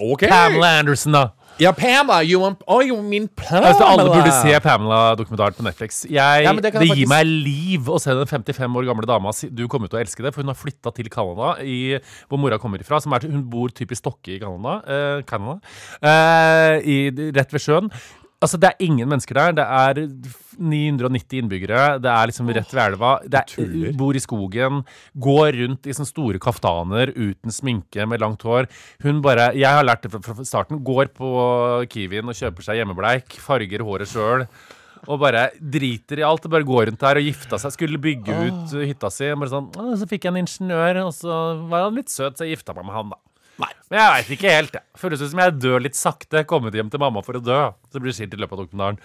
S3: OK!
S2: Mm. Pamela Anderson, da!
S3: Ja, Pamela! You want oh, you mean Pamela?
S2: Altså, alle burde se Pamela-dokumentaren på Netflix. Jeg,
S3: Ja, men
S2: det
S3: det kan jeg
S2: gir
S3: faktisk-
S2: meg liv å se den 55 år gamle dama. si- Du kommer til å elske det, for hun har flytta til Canada, i, hvor mora kommer ifra. Som er, hun bor typisk Stokke i Canada. eh, Canada eh, i, rett ved sjøen. Altså, det er ingen mennesker der. Det er 990 innbyggere. Det er liksom rett ved elva. Det er,
S3: tuller.
S2: eh, bor i skogen. Går rundt i sånne store kaftaner uten sminke, med langt hår. Hun bare Jeg har lært det fra, fra starten. Går på Kiwien og kjøper seg hjemmebleik. Farger håret sjøl. Og bare driter i alt og bare går rundt der og gifta seg. Skulle bygge
S3: Ah.
S2: ut hytta si. Og bare sånn, «Å, så fikk jeg en ingeniør, og så var han litt søt, så jeg gifta meg med han, da. Men jeg veit ikke helt. jeg. Føles ut som jeg dør litt sakte. Kommet hjem til mamma for å dø. Så blir det skilt i løpet av dokumentaren.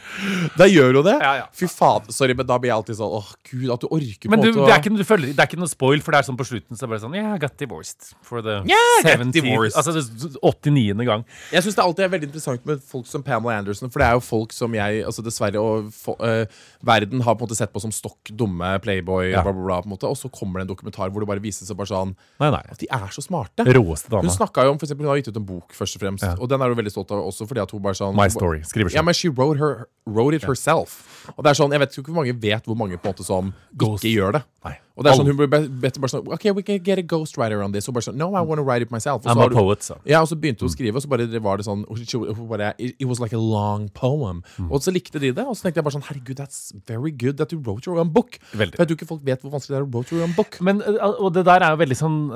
S3: Da gjør jo det.
S2: Ja, ja.
S3: Fy faen, sorry, men da blir jeg alltid sånn åh, gud, at du orker
S2: Men
S3: på
S2: du,
S3: en måte
S2: det, er ikke, noe- du følger, det er ikke noe spoil, for det er sånn på slutten så er det bare sånn Yeah, I got divorced for the
S3: I got
S2: 70
S3: divorced.
S2: Altså det- 89. gang.
S3: Jeg synes det alltid er veldig interessant med folk som Pamela Anderson, for det er jo folk som jeg altså dessverre og fo- eh, verden har på en måte sett på som stokk dumme playboy,
S2: Ja.
S3: bla, bla, bla, på en måte, og så kommer det en dokumentar hvor det bare viser seg bare sånn
S2: Nei, nei.
S3: at de er så smarte.
S2: Råeste dama.
S3: Hun snakka jo om for eksempel, hun har gitt ut en bok, først og fremst, og den er hun veldig stolt av også fordi at hun bare sånn
S2: My story. Skriver
S3: Ja,
S2: selv.
S3: men she wrote, her, wrote it herself. Og det er sånn, Jeg vet jo ikke hvor mange vet hvor mange på en måte som
S2: Ghost.
S3: ikke gjør det.
S2: Nei.
S3: Og det er sånn,
S2: Alle.
S3: Hun ble be- bedt bare sånn OK, we can get a ghostwriter on this. Og bare sånn, no, I want to write it myself. Og
S2: I'm
S3: så har
S2: a poet, så. Mm.
S3: Ja, og så begynte hun å skrive, og så bare det var det sånn og she- hun bare, It it was like a long poem.
S2: Mm.
S3: Og så likte de det, og så tenkte jeg bare sånn Herregud, that's very good that you wrote your own book.
S2: Veldig.
S3: For Jeg tror ikke folk vet hvor vanskelig det er å wrote your own book.
S2: Men, eh, og det der er jo veldig sånn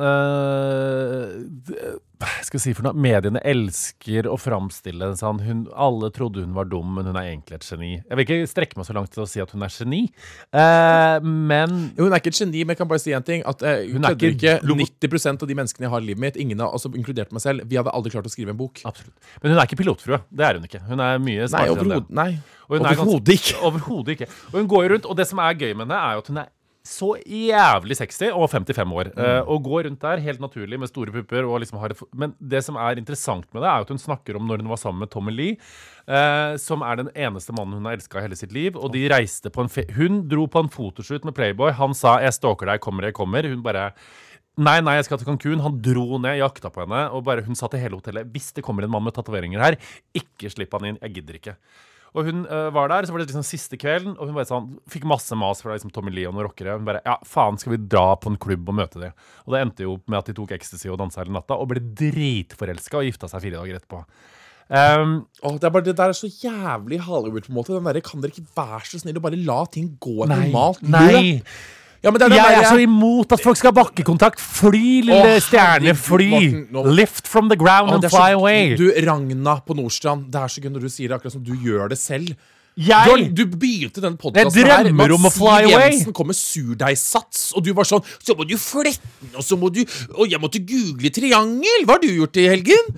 S2: eh, d- Hva skal jeg si for noe? Mediene elsker å framstille det sånn hun, Alle trodde hun var dum, men hun er egentlig et geni. Jeg vil ikke strekke meg så langt til å si at hun er geni, eh, men
S3: Jo, Hun er ikke et geni, men jeg kan bare si en ting. At, eh, hun
S2: er
S3: kødder ikke
S2: ikke logo-
S3: 90 av de menneskene jeg har i livet mitt, ingen av, altså, inkludert meg selv, vi hadde aldri klart å skrive en bok.
S2: Absolutt. Men hun er ikke pilotfrue. Det er hun ikke. Hun er mye
S3: Nei,
S2: smartere enn det.
S3: overhodet nei.
S2: Og hun er ganske-
S3: Overhodet ikke.
S2: Overhodet ikke. Og hun går jo rundt, og det som er gøy med henne, er jo at hun er så jævlig sexy og 55 år.
S3: Mm.
S2: Eh, og går rundt der helt naturlig med store pupper. Og liksom har et, f- men det som er interessant med det, er jo at hun snakker om når hun var sammen med Tommy Lee, eh, som er den eneste mannen hun har elska i hele sitt liv. Og de reiste på en fe Hun dro på en fotoshoot med Playboy. Han sa 'Jeg stalker deg. Kommer, jeg kommer'. Hun bare Nei, nei, jeg skal til Cancún. Han dro ned, jakta på henne. Og bare hun sa til hele hotellet hvis det kommer en mann med tatoveringer her, ikke slipp han inn. Jeg gidder ikke. Og hun øh, var der, så var det liksom siste kvelden, og hun bare sånn, fikk masse mas fra liksom, Tommy Lee og noen rockere. Hun bare ja, faen, skal vi dra på en klubb og møte de? Og det endte jo opp med at de tok ecstasy og dansa hele natta, og ble dritforelska og gifta seg fire dager etterpå. Ehm,
S3: Åh, det, er bare, det der er så jævlig Hollywood, på en måte. Den der, kan dere ikke være så snill og bare la ting gå et normalt løp?
S2: nei!
S3: Ja, men det er den
S2: Jeg
S3: der,
S2: er så imot at folk skal ha bakkekontakt! Fly, lille
S3: Å,
S2: stjerne,
S3: herregud,
S2: fly!
S3: Morten, nå-
S2: Lift from the ground
S3: Åh,
S2: and
S3: det er
S2: fly
S3: så-
S2: away!
S3: Du, Ragna på Nordstrand, det er så gøy når du sier det akkurat som du gjør det selv. Du, har-
S2: jeg
S3: du begynte den podkasten
S2: Jeg drømmer om å fly away.
S3: Jensen kom med surdeigsats, og du var sånn Så må du flette den, og så må du Og jeg måtte google triangel! Hva har du gjort i helgen?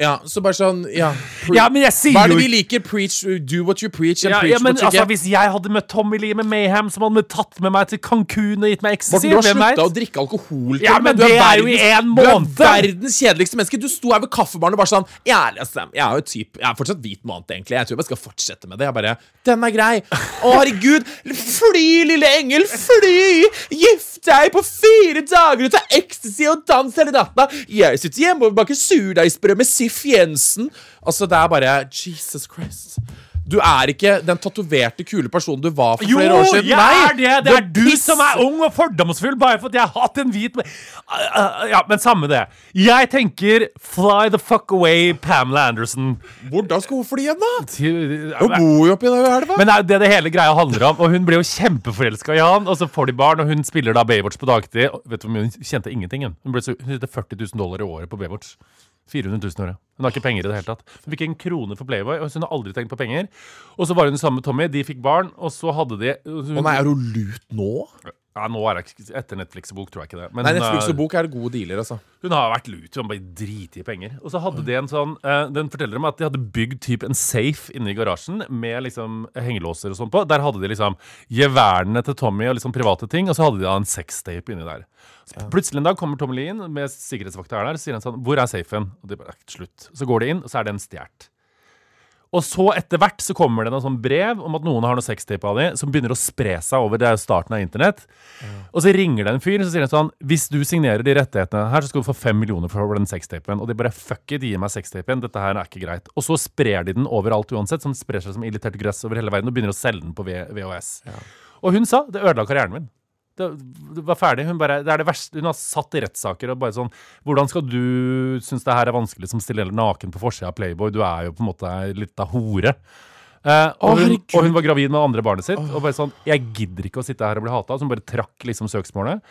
S3: Ja, så bare sånn Ja, pre-
S2: Ja, men jeg sier
S3: Hva er det
S2: jo
S3: vi liker? Preach, do what you preach, and
S2: ja,
S3: preach
S2: ja, men
S3: what you
S2: altså,
S3: get.
S2: Hvis jeg hadde møtt Tommy Lee med Mayhem, som hadde tatt med meg til Cancún og gitt meg ecstasy
S3: Morten, du har
S2: hvem vet?
S3: slutta å drikke alkohol. til
S2: Ja,
S3: og med.
S2: men
S3: Du
S2: det er jo i en måned.
S3: Du er verdens kjedeligste menneske. Du sto her ved kaffebaren og bare sånn Jeg er, liksom, jeg er jo typ, jeg er fortsatt hvit måned, egentlig. Jeg tror jeg bare skal fortsette med det. Jeg bare Den er grei. Å, herregud. Fly, lille engel. Fly! Gift deg på fire dager og ta ecstasy og dans hele natta. Jeg sitter hjemme og baker surdeigsbrød med Sif Jensen. Altså, det er bare Jesus Christ. Du er ikke den tatoverte, kule personen du var for
S2: Jo,
S3: flere år siden.
S2: jeg
S3: Nei,
S2: er det! Det er du
S3: piss.
S2: som er ung og fordomsfull bare fordi jeg har hatt en hvit me- Ah, ah, Ja, men samme det. Jeg tenker fly the fuck away, Pamela Anderson.
S3: Hvordan skal hun fly igjen, da? Hun
S2: Men
S3: bor jo oppi der elva.
S2: det er jo det det hele greia handler om. Og hun blir jo kjempeforelska i han, og så får de barn, og hun spiller da Baywatch på dagtid. Og Vet du hvor mye hun kjente ingenting? Hun Hun ble så, hun tjente 40 000 dollar i året på Baywatch. 400 000 i året. Hun har ikke penger i det hele tatt. Hun fikk en krone for Playboy, og hun har aldri tenkt på penger. Og så var hun sammen med Tommy, de fikk barn, og så hadde de hun,
S3: Å nei, er hun lut nå?
S2: Ja, nå er det ikke- etter Netflix og bok, tror jeg ikke det. Men
S3: Nei,
S2: hun,
S3: Netflix
S2: er-
S3: og bok er gode dealer, altså.
S2: hun har vært lut. Hun har bare driti i penger. Og så hadde de en sånn eh, Den forteller dem at de hadde bygd typ en safe inne i garasjen med liksom hengelåser og sånn på. Der hadde de liksom geværene til Tommy og liksom private ting, og så hadde de da en sextape inni der. Så plutselig en dag kommer Tommy Lee inn med sikkerhetsvakta er der, så sier han sånn Hvor er safen? Og de bare Slutt. Så går de inn, og så er den stjålet. Og så etter hvert så kommer det noen sånn brev om at noen har noe sextape av de, som begynner å spre seg over det er jo starten av internett. Og så ringer det en fyr så sier han sånn Hvis du signerer de rettighetene her, så skal du få fem millioner for den sextapen. Og de bare fuck it, gi meg sextapen. Dette her er ikke greit. Og så sprer de den overalt uansett. Så den sprer seg som irritert gress over hele verden og begynner å selge den på V- VHS. Og hun sa det ødela karrieren min. Det, det var ferdig. Hun, bare, det er det verste. hun har satt i rettssaker og bare sånn Hvordan skal du synes det her er vanskelig som stiller naken på forsida av Playboy? Du er jo på en måte ei lita hore. Eh,
S3: Å,
S2: og, hun,
S3: herregud.
S2: og hun var gravid med det andre barnet sitt. Og bare sånn, jeg gidder ikke å sitte her og bli hata. Så hun bare trakk liksom søksmålet.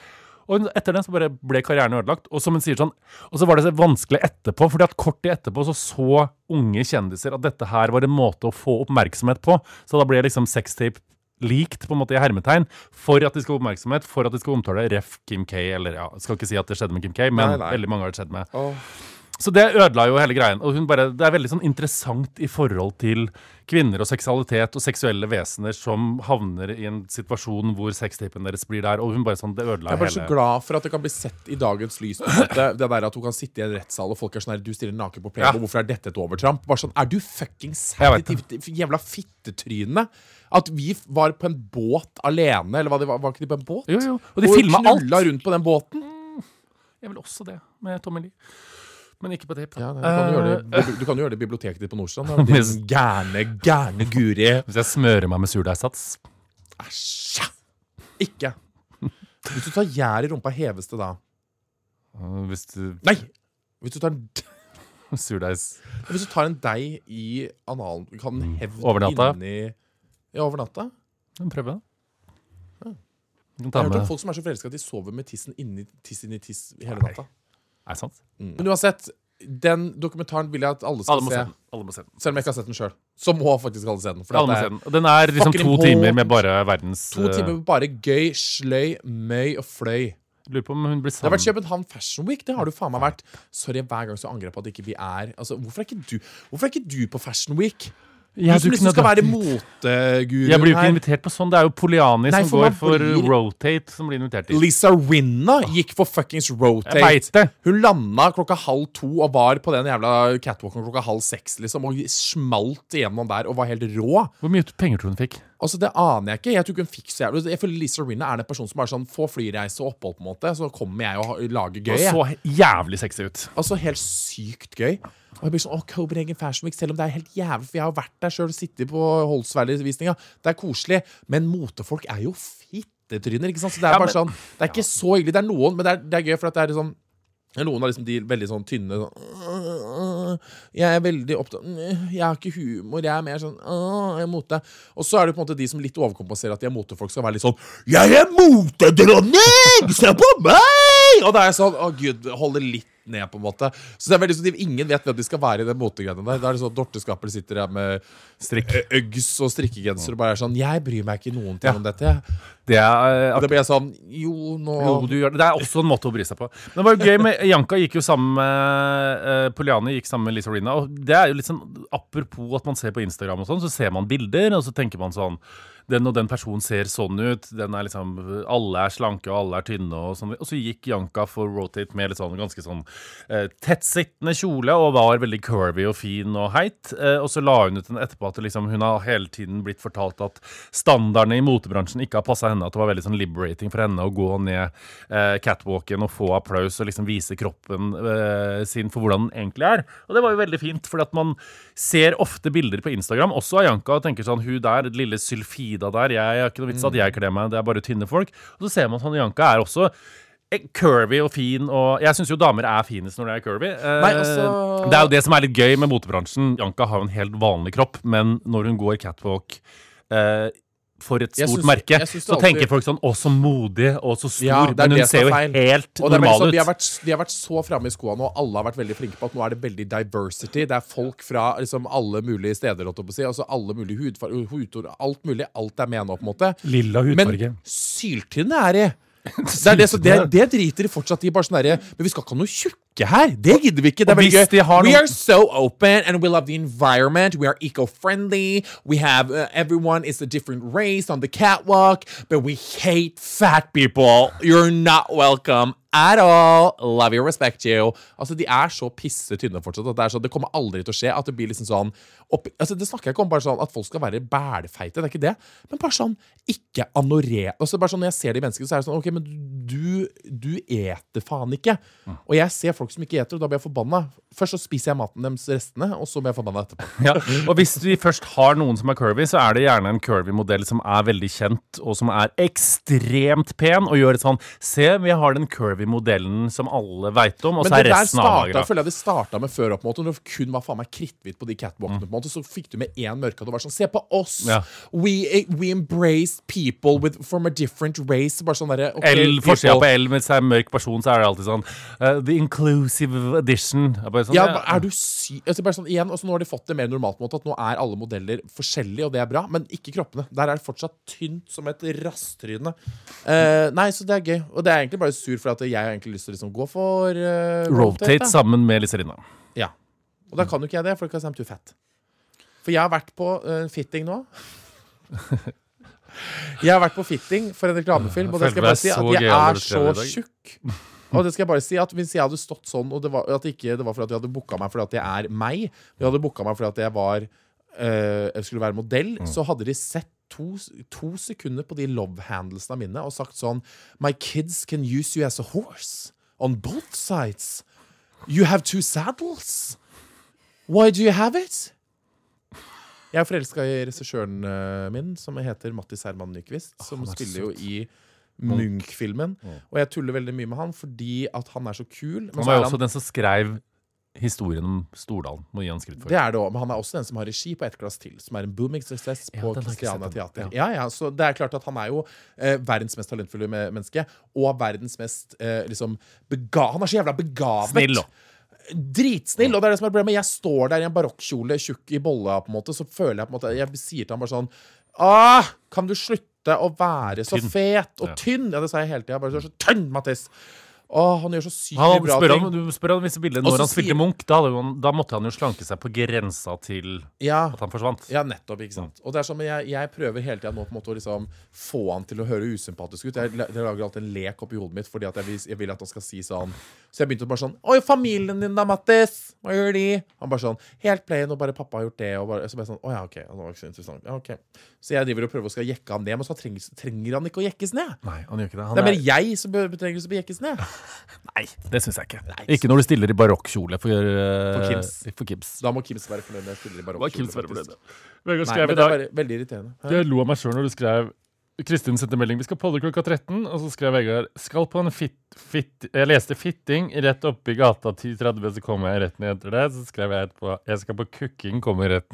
S2: Og hun- etter det så bare ble karrieren ødelagt. Og som hun sier sånn, og så var det så vanskelig etterpå, fordi at kort tid etterpå så så unge kjendiser at dette her var en måte å få oppmerksomhet på. Så da ble liksom sextape likt, på en måte i hermetegn, for at de skal ha oppmerksomhet, for at de skal omtale ref Kim K, eller ja, skal ikke si at det skjedde med Kim K, men
S3: Nei, nei.
S2: veldig mange har det skjedd med.
S3: Åh.
S2: Så det ødela jo hele greien. Og hun bare, det er veldig sånn interessant i forhold til kvinner og seksualitet og seksuelle vesener som havner i en situasjon hvor sextapen deres blir der. Og hun bare sånn, det ødela
S3: Jeg er bare så
S2: hele
S3: glad for at det kan bli sett i dagens lys. på en måte. Det der at hun kan sitte i en rettssal og folk er sånn her Du stiller naken på
S2: Ja.
S3: Playboy, hvorfor er dette et overtramp? Bare sånn, Er du fucking
S2: Jeg vet
S3: sensitiv til jævla fittetryne? At vi f- var på en båt alene, eller hva det var, var ikke de på en båt?
S2: Jo, jo. Og de filma alt.
S3: knulla rundt på den båten.
S2: Jeg vil også det med Tommy Lee. Men ikke på tape. Eh,
S3: Ja, nei, du, kan jo gjøre det, i- du kan jo gjøre det i biblioteket ditt på Nordstrand. da, med
S2: Hvis-
S3: Eh, Din gærne, gærne guri.
S2: Hvis jeg smører meg med surdeigsats
S3: Æsj! Ikke. Hvis du tar gjær i rumpa, heves det da?
S2: øh, Hvis du
S3: Nei! Hvis du tar en
S2: Surdeigs
S3: Hvis du tar en deig i analen Kan den hevde
S2: Over natta?
S3: inni Ja, over natta.
S2: Prøve, da. Du kan
S3: Jeg
S2: ta
S3: har hørt om
S2: med
S3: folk som er så forelska at de sover med tissen inni tiss inni tiss hele
S2: Nei.
S3: natta. Mm.
S2: Er det sant?
S3: Men uansett, den dokumentaren vil jeg at alle skal
S2: Alle må se
S3: se.
S2: den. Alle må se den.
S3: Selv om jeg ikke har sett den sjøl. Så må faktisk alle se den. For
S2: Alle må
S3: dette
S2: se
S3: er
S2: den. Og den er liksom
S3: Fucking
S2: to
S3: impotent.
S2: timer med bare verdens
S3: to
S2: øh,
S3: timer med bare gøy, sløy, møy og fløy.
S2: Lurer på om hun blir
S3: Det har vært
S2: sammen
S3: København Fashion Week. Det har du faen meg vært. Sorry, hver gang så angrer jeg på at ikke vi er Altså, Hvorfor er ikke du Hvorfor er ikke du på Fashion Week?
S2: Ja,
S3: du som
S2: du
S3: liksom
S2: kunne
S3: skal
S2: dratt
S3: være
S2: dit.
S3: moteguruen
S2: Jeg blir jo ikke
S3: her.
S2: invitert på sånn. Det er jo Poliani
S3: Nei,
S2: som
S3: for
S2: går
S3: hva
S2: for
S3: blir-
S2: Rotate, som blir invitert til.
S3: Lisa Rinna gikk for fuckings
S2: Jeg vet
S3: rotate.
S2: det.
S3: Hun landa klokka halv to og var på den jævla catwalken klokka halv seks. liksom Og smalt igjennom der og var helt rå.
S2: Hvor mye penger tror du hun fikk?
S3: Altså Det aner jeg ikke. Jeg tror ikke hun fikk så jævlig Jeg føler Lisa Rinna er den personen som er sånn få flyreise og opphold, på en måte. Så kommer jeg og ha- lager
S2: Og
S3: gøy. jeg.
S2: så jævlig sexy ut.
S3: Altså Helt sykt gøy. Og jeg blir sånn, å, Copenhagen Fashion Week, Selv om det er helt jævlig, for jeg har vært der sjøl og sittet på Holsvalley-visninga. Det er koselig, men motefolk er jo fittetryner. ikke sant? Så Det er
S2: Ja,
S3: bare
S2: men-
S3: sånn, det er ikke så hyggelig. Det er noen, men det er, det er gøy, for at det er liksom noen av liksom de veldig sånn tynne sånn, Jeg er veldig opptatt Jeg har ikke humor, jeg er mer sånn «Åh, Jeg er mote. Og så er det på en måte de som litt overkompenserer at de er motefolk, skal være litt sånn Jeg er motedronning! Se på meg! Og det er sånn Å, gud, holde litt ned, på en måte. Så det er veldig sånn, de- Ingen vet hvem de skal være i den motegreiene der. Da er det sånn Dorte Skappel sitter der med
S2: Strikk.
S3: ø- Uggs og strikkegenser og bare er sånn Jeg bryr meg ikke noen ting
S2: Ja.
S3: om dette.
S2: Det er,
S3: Og da blir jeg sånn Jo, nå
S2: jo, du gjør det. det er også en måte å bry seg på. Men det var jo gøy med Janka gikk jo sammen med eh, Poliani gikk sammen med Lisa Rina. Og det er jo litt sånn apropos at man ser på Instagram og sånn, så ser man bilder, og så tenker man sånn Den og den personen ser sånn ut. Den er liksom Alle er slanke, og alle er tynne, og sånn. Og så gikk Janka for Rotate med litt sånn ganske sånn eh, tettsittende kjole, og var veldig curvy og fin og heit. Eh, og så la hun ut en etterpå at liksom, hun har hele tiden blitt fortalt at standardene i motebransjen ikke har passa henne. At det var veldig sånn liberating for henne å gå ned eh, catwalken og få applaus og liksom vise kroppen eh, sin for hvordan den egentlig er. Og det var jo veldig fint, for at man ser ofte bilder på Instagram, også av Janka, og tenker sånn Hun der, lille Sylfida der, jeg har ikke noe vits at jeg kler meg, det er bare tynne folk. Og så ser man sånn Janka er også eh, Curvy og fin, og jeg syns jo damer er finest når de er curvy. Eh,
S3: Nei, altså-
S2: Det er jo det som er litt gøy med motebransjen. Janka har jo en helt vanlig kropp, men når hun går catwalk eh, for et
S3: Jeg
S2: stort
S3: syns-
S2: merke,
S3: jeg syns det
S2: så
S3: alltid-
S2: tenker folk sånn Å, så modig og så stor.
S3: Ja, det er
S2: men
S3: det
S2: hun
S3: som
S2: ser
S3: er
S2: jo
S3: feil.
S2: helt
S3: Og det er veldig
S2: normal
S3: sånn,
S2: ut.
S3: vi, har vært, vi har vært så framme i skoene, og alle har vært veldig flinke på at nå er det veldig diversity. Det er folk fra liksom, alle mulige steder, holdt jeg på å si. Altså alle mulige hudfarger, hudtor, alt mulig. Alt er med nå, på en måte.
S2: Lilla
S3: Men
S2: hudfarge.
S3: syltynne er de. Det, er det, så det, det driter de fortsatt i. Bare sånn derre Men vi skal ikke ha noe tjukke her! Det gidder vi ikke. Det
S2: Og
S3: er veldig
S2: hvis de
S3: gøy.
S2: har
S3: We
S2: noen-
S3: are so open, and we love the environment. We are eco-friendly. We have uh, everyone is a different race on the catwalk, but we hate fat people. You're not welcome at all. Love you, respect you. Altså, de er så pisse tynne fortsatt at det, er sånn, det kommer aldri til å skje at det blir liksom sånn opp, altså, Det snakker jeg ikke om bare sånn at folk skal være bælfeite, det er ikke det, men bare sånn ikke anoré. Altså, bare sånn, når jeg ser de menneskene, så er det sånn OK, men du, du eter faen ikke. Og jeg ser folk som ikke eter, og da blir jeg forbanna. Først så spiser jeg maten deres restene, og så blir jeg forbanna etterpå.
S2: Ja. Og hvis vi først har noen som er curvy, så er det gjerne en curvy-modell som er veldig kjent, og som er ekstremt pen, og gjør et sånn Se, vi har den curvy-modellen som alle veit om, og
S3: Men
S2: så
S3: det
S2: er
S3: der
S2: resten av
S3: starta,
S2: magra.
S3: føler jeg det starta med før, opp, på en måte, når det kun var faen meg kritthvitt på de catwalkene. på en måte. annet, og så fikk du med én mørkhatt og var sånn Se på oss!
S2: Mm. Ja.
S3: We, eh, we embraced people with, from a different race. Bare sånn derre ok,
S2: L,
S3: people-
S2: Forsida på L med seg mørk person, så er det alltid sånn eh, The inclusive edition. Jeg Bare sånn,
S3: Ja, hva- er du sy altså, bare sånn, igjen, altså, Nå har de fått det mer normalt på en måte at nå er alle modeller forskjellige, og det er bra, men ikke kroppene. Der er det fortsatt tynt som et rasttryne. Eh, nei, så det er gøy. Og det er egentlig bare sur for at jeg har egentlig lyst til å liksom gå for eh,
S2: Rotate
S3: da.
S2: sammen med Lizarina.
S3: Ja. Og da kan jo ikke jeg det, for da kan jeg si I'm too fat. For jeg har vært på eh, fitting nå. Jeg har vært på fitting for en reklamefilm, og det
S2: Jeg
S3: skal
S2: føler meg
S3: jeg bare si
S2: så
S3: at jeg
S2: gøyal når
S3: er
S2: du
S3: så
S2: skrev det i dag.
S3: tjukk. Og det skal jeg bare si at Hvis jeg hadde stått sånn, og det var, at ikke, det var for at de hadde booka meg fordi at jeg er meg, de hadde booka meg fordi at jeg var eh, jeg skulle være modell,
S2: Mm.
S3: så hadde de sett to, to sekunder på de love handlesene mine og sagt sånn My kids can use you as a horse on both sides. You have two saddles. Why do you have it? Jeg er forelska i regissøren eh, min, som heter Mattis Herman Nyquist. Som
S2: han er
S3: spiller jo
S2: søt.
S3: i Munch-filmen. Og jeg tuller veldig mye med han fordi at han er så kul. Men
S2: Han
S3: så
S2: var
S3: er
S2: jo også
S3: han,
S2: den som skrev historien om Stordalen. Må gi han skritt for.
S3: det er det også, men han er også den som har regi på Ett glass til, som er en booming success
S2: Ja,
S3: på
S2: den har jeg ikke
S3: Christiania
S2: sett den.
S3: Teater. Ja. ja, Så det er klart at han er jo eh, verdens mest talentfulle me- menneske, og verdens mest eh, liksom bega Han er så jævla begavet!
S2: Snill, da.
S3: dritsnill, og det er det som er problemet. Jeg står der i en barokkjole, tjukk i bolla, på en måte, så føler jeg på en måte Jeg sier til han bare sånn Åh, kan du slutte å være så
S2: Tynn.
S3: fet og
S2: Ja.
S3: tynn? Ja, det sa jeg hele tida. Bare så så tynn, Mattis! Åh, han gjør så sykt
S2: Han
S3: mye
S2: hadde-
S3: bra
S2: spør
S3: ting.
S2: han, du spør han om visse bilder
S3: Og så
S2: når han
S3: sier-
S2: spilte Munch. Da, hadde jo han, da måtte han jo slanke seg på grensa til
S3: Ja.
S2: at han forsvant.
S3: Ja, nettopp, ikke sant Og det er sånn, men jeg, jeg prøver hele tiden nå på en måte å liksom få han til å høre usympatisk ut Jeg, la- jeg lager alltid en lek oppi hodet mitt Fordi at jeg, vil- jeg vil at han skal si sånn Så jeg begynte bare sånn Oi, familien din da, Mattis Hva gjør de? Han bare sånn Helt plain, og bare pappa har gjort det Og bare, så bare sånn Åja, ok, det var ikke så interessant Ja, ok Så jeg driver og prøver å skal jekke han ned Men så trenger, trenger han ikke å jekkes ned
S2: Nei, han gjør ikke det.
S3: Det
S2: Han er,
S3: er mer jeg som bør- trenger å jekkes ned
S2: nei, det syns jeg ikke.
S3: Nei.
S2: Ikke når du stiller i barokkjole for, eh,
S3: For Kims.
S2: For Kims.
S3: Da må Kims være fornøyd når jeg spiller
S2: Hva
S3: i
S2: er
S3: barokkjole,
S2: Kims
S3: faktisk.
S2: verre Vegard
S3: Nei,
S2: skrev i
S3: men det er
S2: dag
S3: bare veldig irriterende Hæ?
S2: Jeg lo av meg sjøl når du skrev Kristin sendte melding Vi skal podde klokka 13, og så skrev Vegard Skal på en fit, fit Jeg leste fitting rett oppe i gata 10.30, så kommer jeg rett ned etter det. Så skrev jeg etterpå Jeg skal på kukking, kommer rett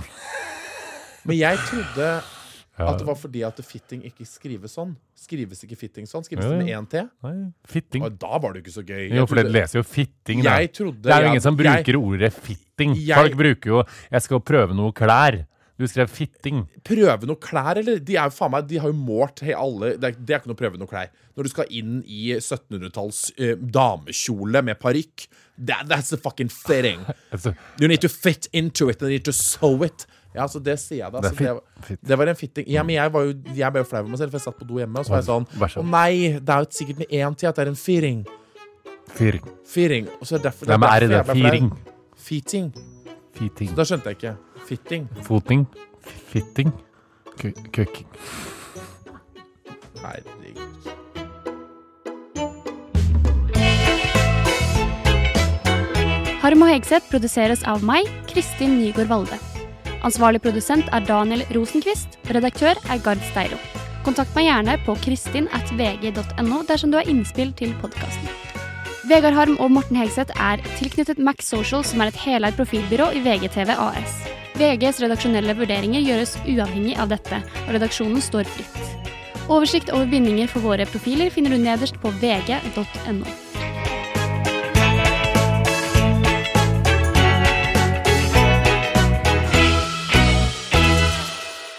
S3: Men jeg trodde
S2: Ja.
S3: at det var fordi at fitting ikke skrives sånn. Skrives ikke fitting sånn? Skrives
S2: Ja,
S3: det
S2: ja.
S3: med én T?
S2: Nei, Fitting.
S3: Og da var det jo ikke så gøy.
S2: Jo,
S3: Jeg
S2: for dere
S3: trodde-
S2: leser jo fitting, da.
S3: jeg trodde
S2: Det er jo
S3: jeg-
S2: ingen som
S3: jeg-
S2: bruker ordet fitting.
S3: Jeg-
S2: Folk bruker jo 'jeg skal prøve noe klær'. Du skrev fitting.
S3: Prøve noe klær, eller? De er jo faen meg, de har jo målt hei, alle det er, det er ikke noe prøve noe klær. Når du skal inn i 1700-talls eh, damekjole med parykk that, That's the fucking fitting.
S2: Altså,
S3: You need to fit into it, and you need to sew it. Ja, altså Det sier jeg da.
S2: Det
S3: Det,
S2: er
S3: så det,
S2: fit- fit.
S3: det var en fitting. Ja, men Jeg var jo, jeg ble jo flau over meg selv, for jeg satt på do hjemme, og så var jeg sånn
S2: Vær så
S3: Å
S2: god.
S3: nei, det er jo sikkert med én T at det er en fitting.
S2: fyring.
S3: Fitting. Og så er det derfor,
S2: Nei, men er det det?
S3: derfor jeg ble flau.
S2: Fyring.
S3: Fitting.
S2: Fitting.
S3: Da skjønte jeg ikke. Fitting.
S2: Foting. Fitting. Ku- Kukking.
S3: Herregud.
S4: Harm og Hegseth produseres av meg, Kristin Nygaard Valde. Ansvarlig produsent er Daniel Rosenquist. Redaktør er Gard Steiro. Kontakt meg gjerne på kristin at vg.no dersom du har innspill til podkasten. Vegard Harm og Morten Hegseth er tilknyttet Max Social, som er et heleid profilbyrå i VGTV AS. VGs redaksjonelle vurderinger gjøres uavhengig av dette, og redaksjonen står fritt. Oversikt over bindinger for våre profiler finner du nederst på vg.no.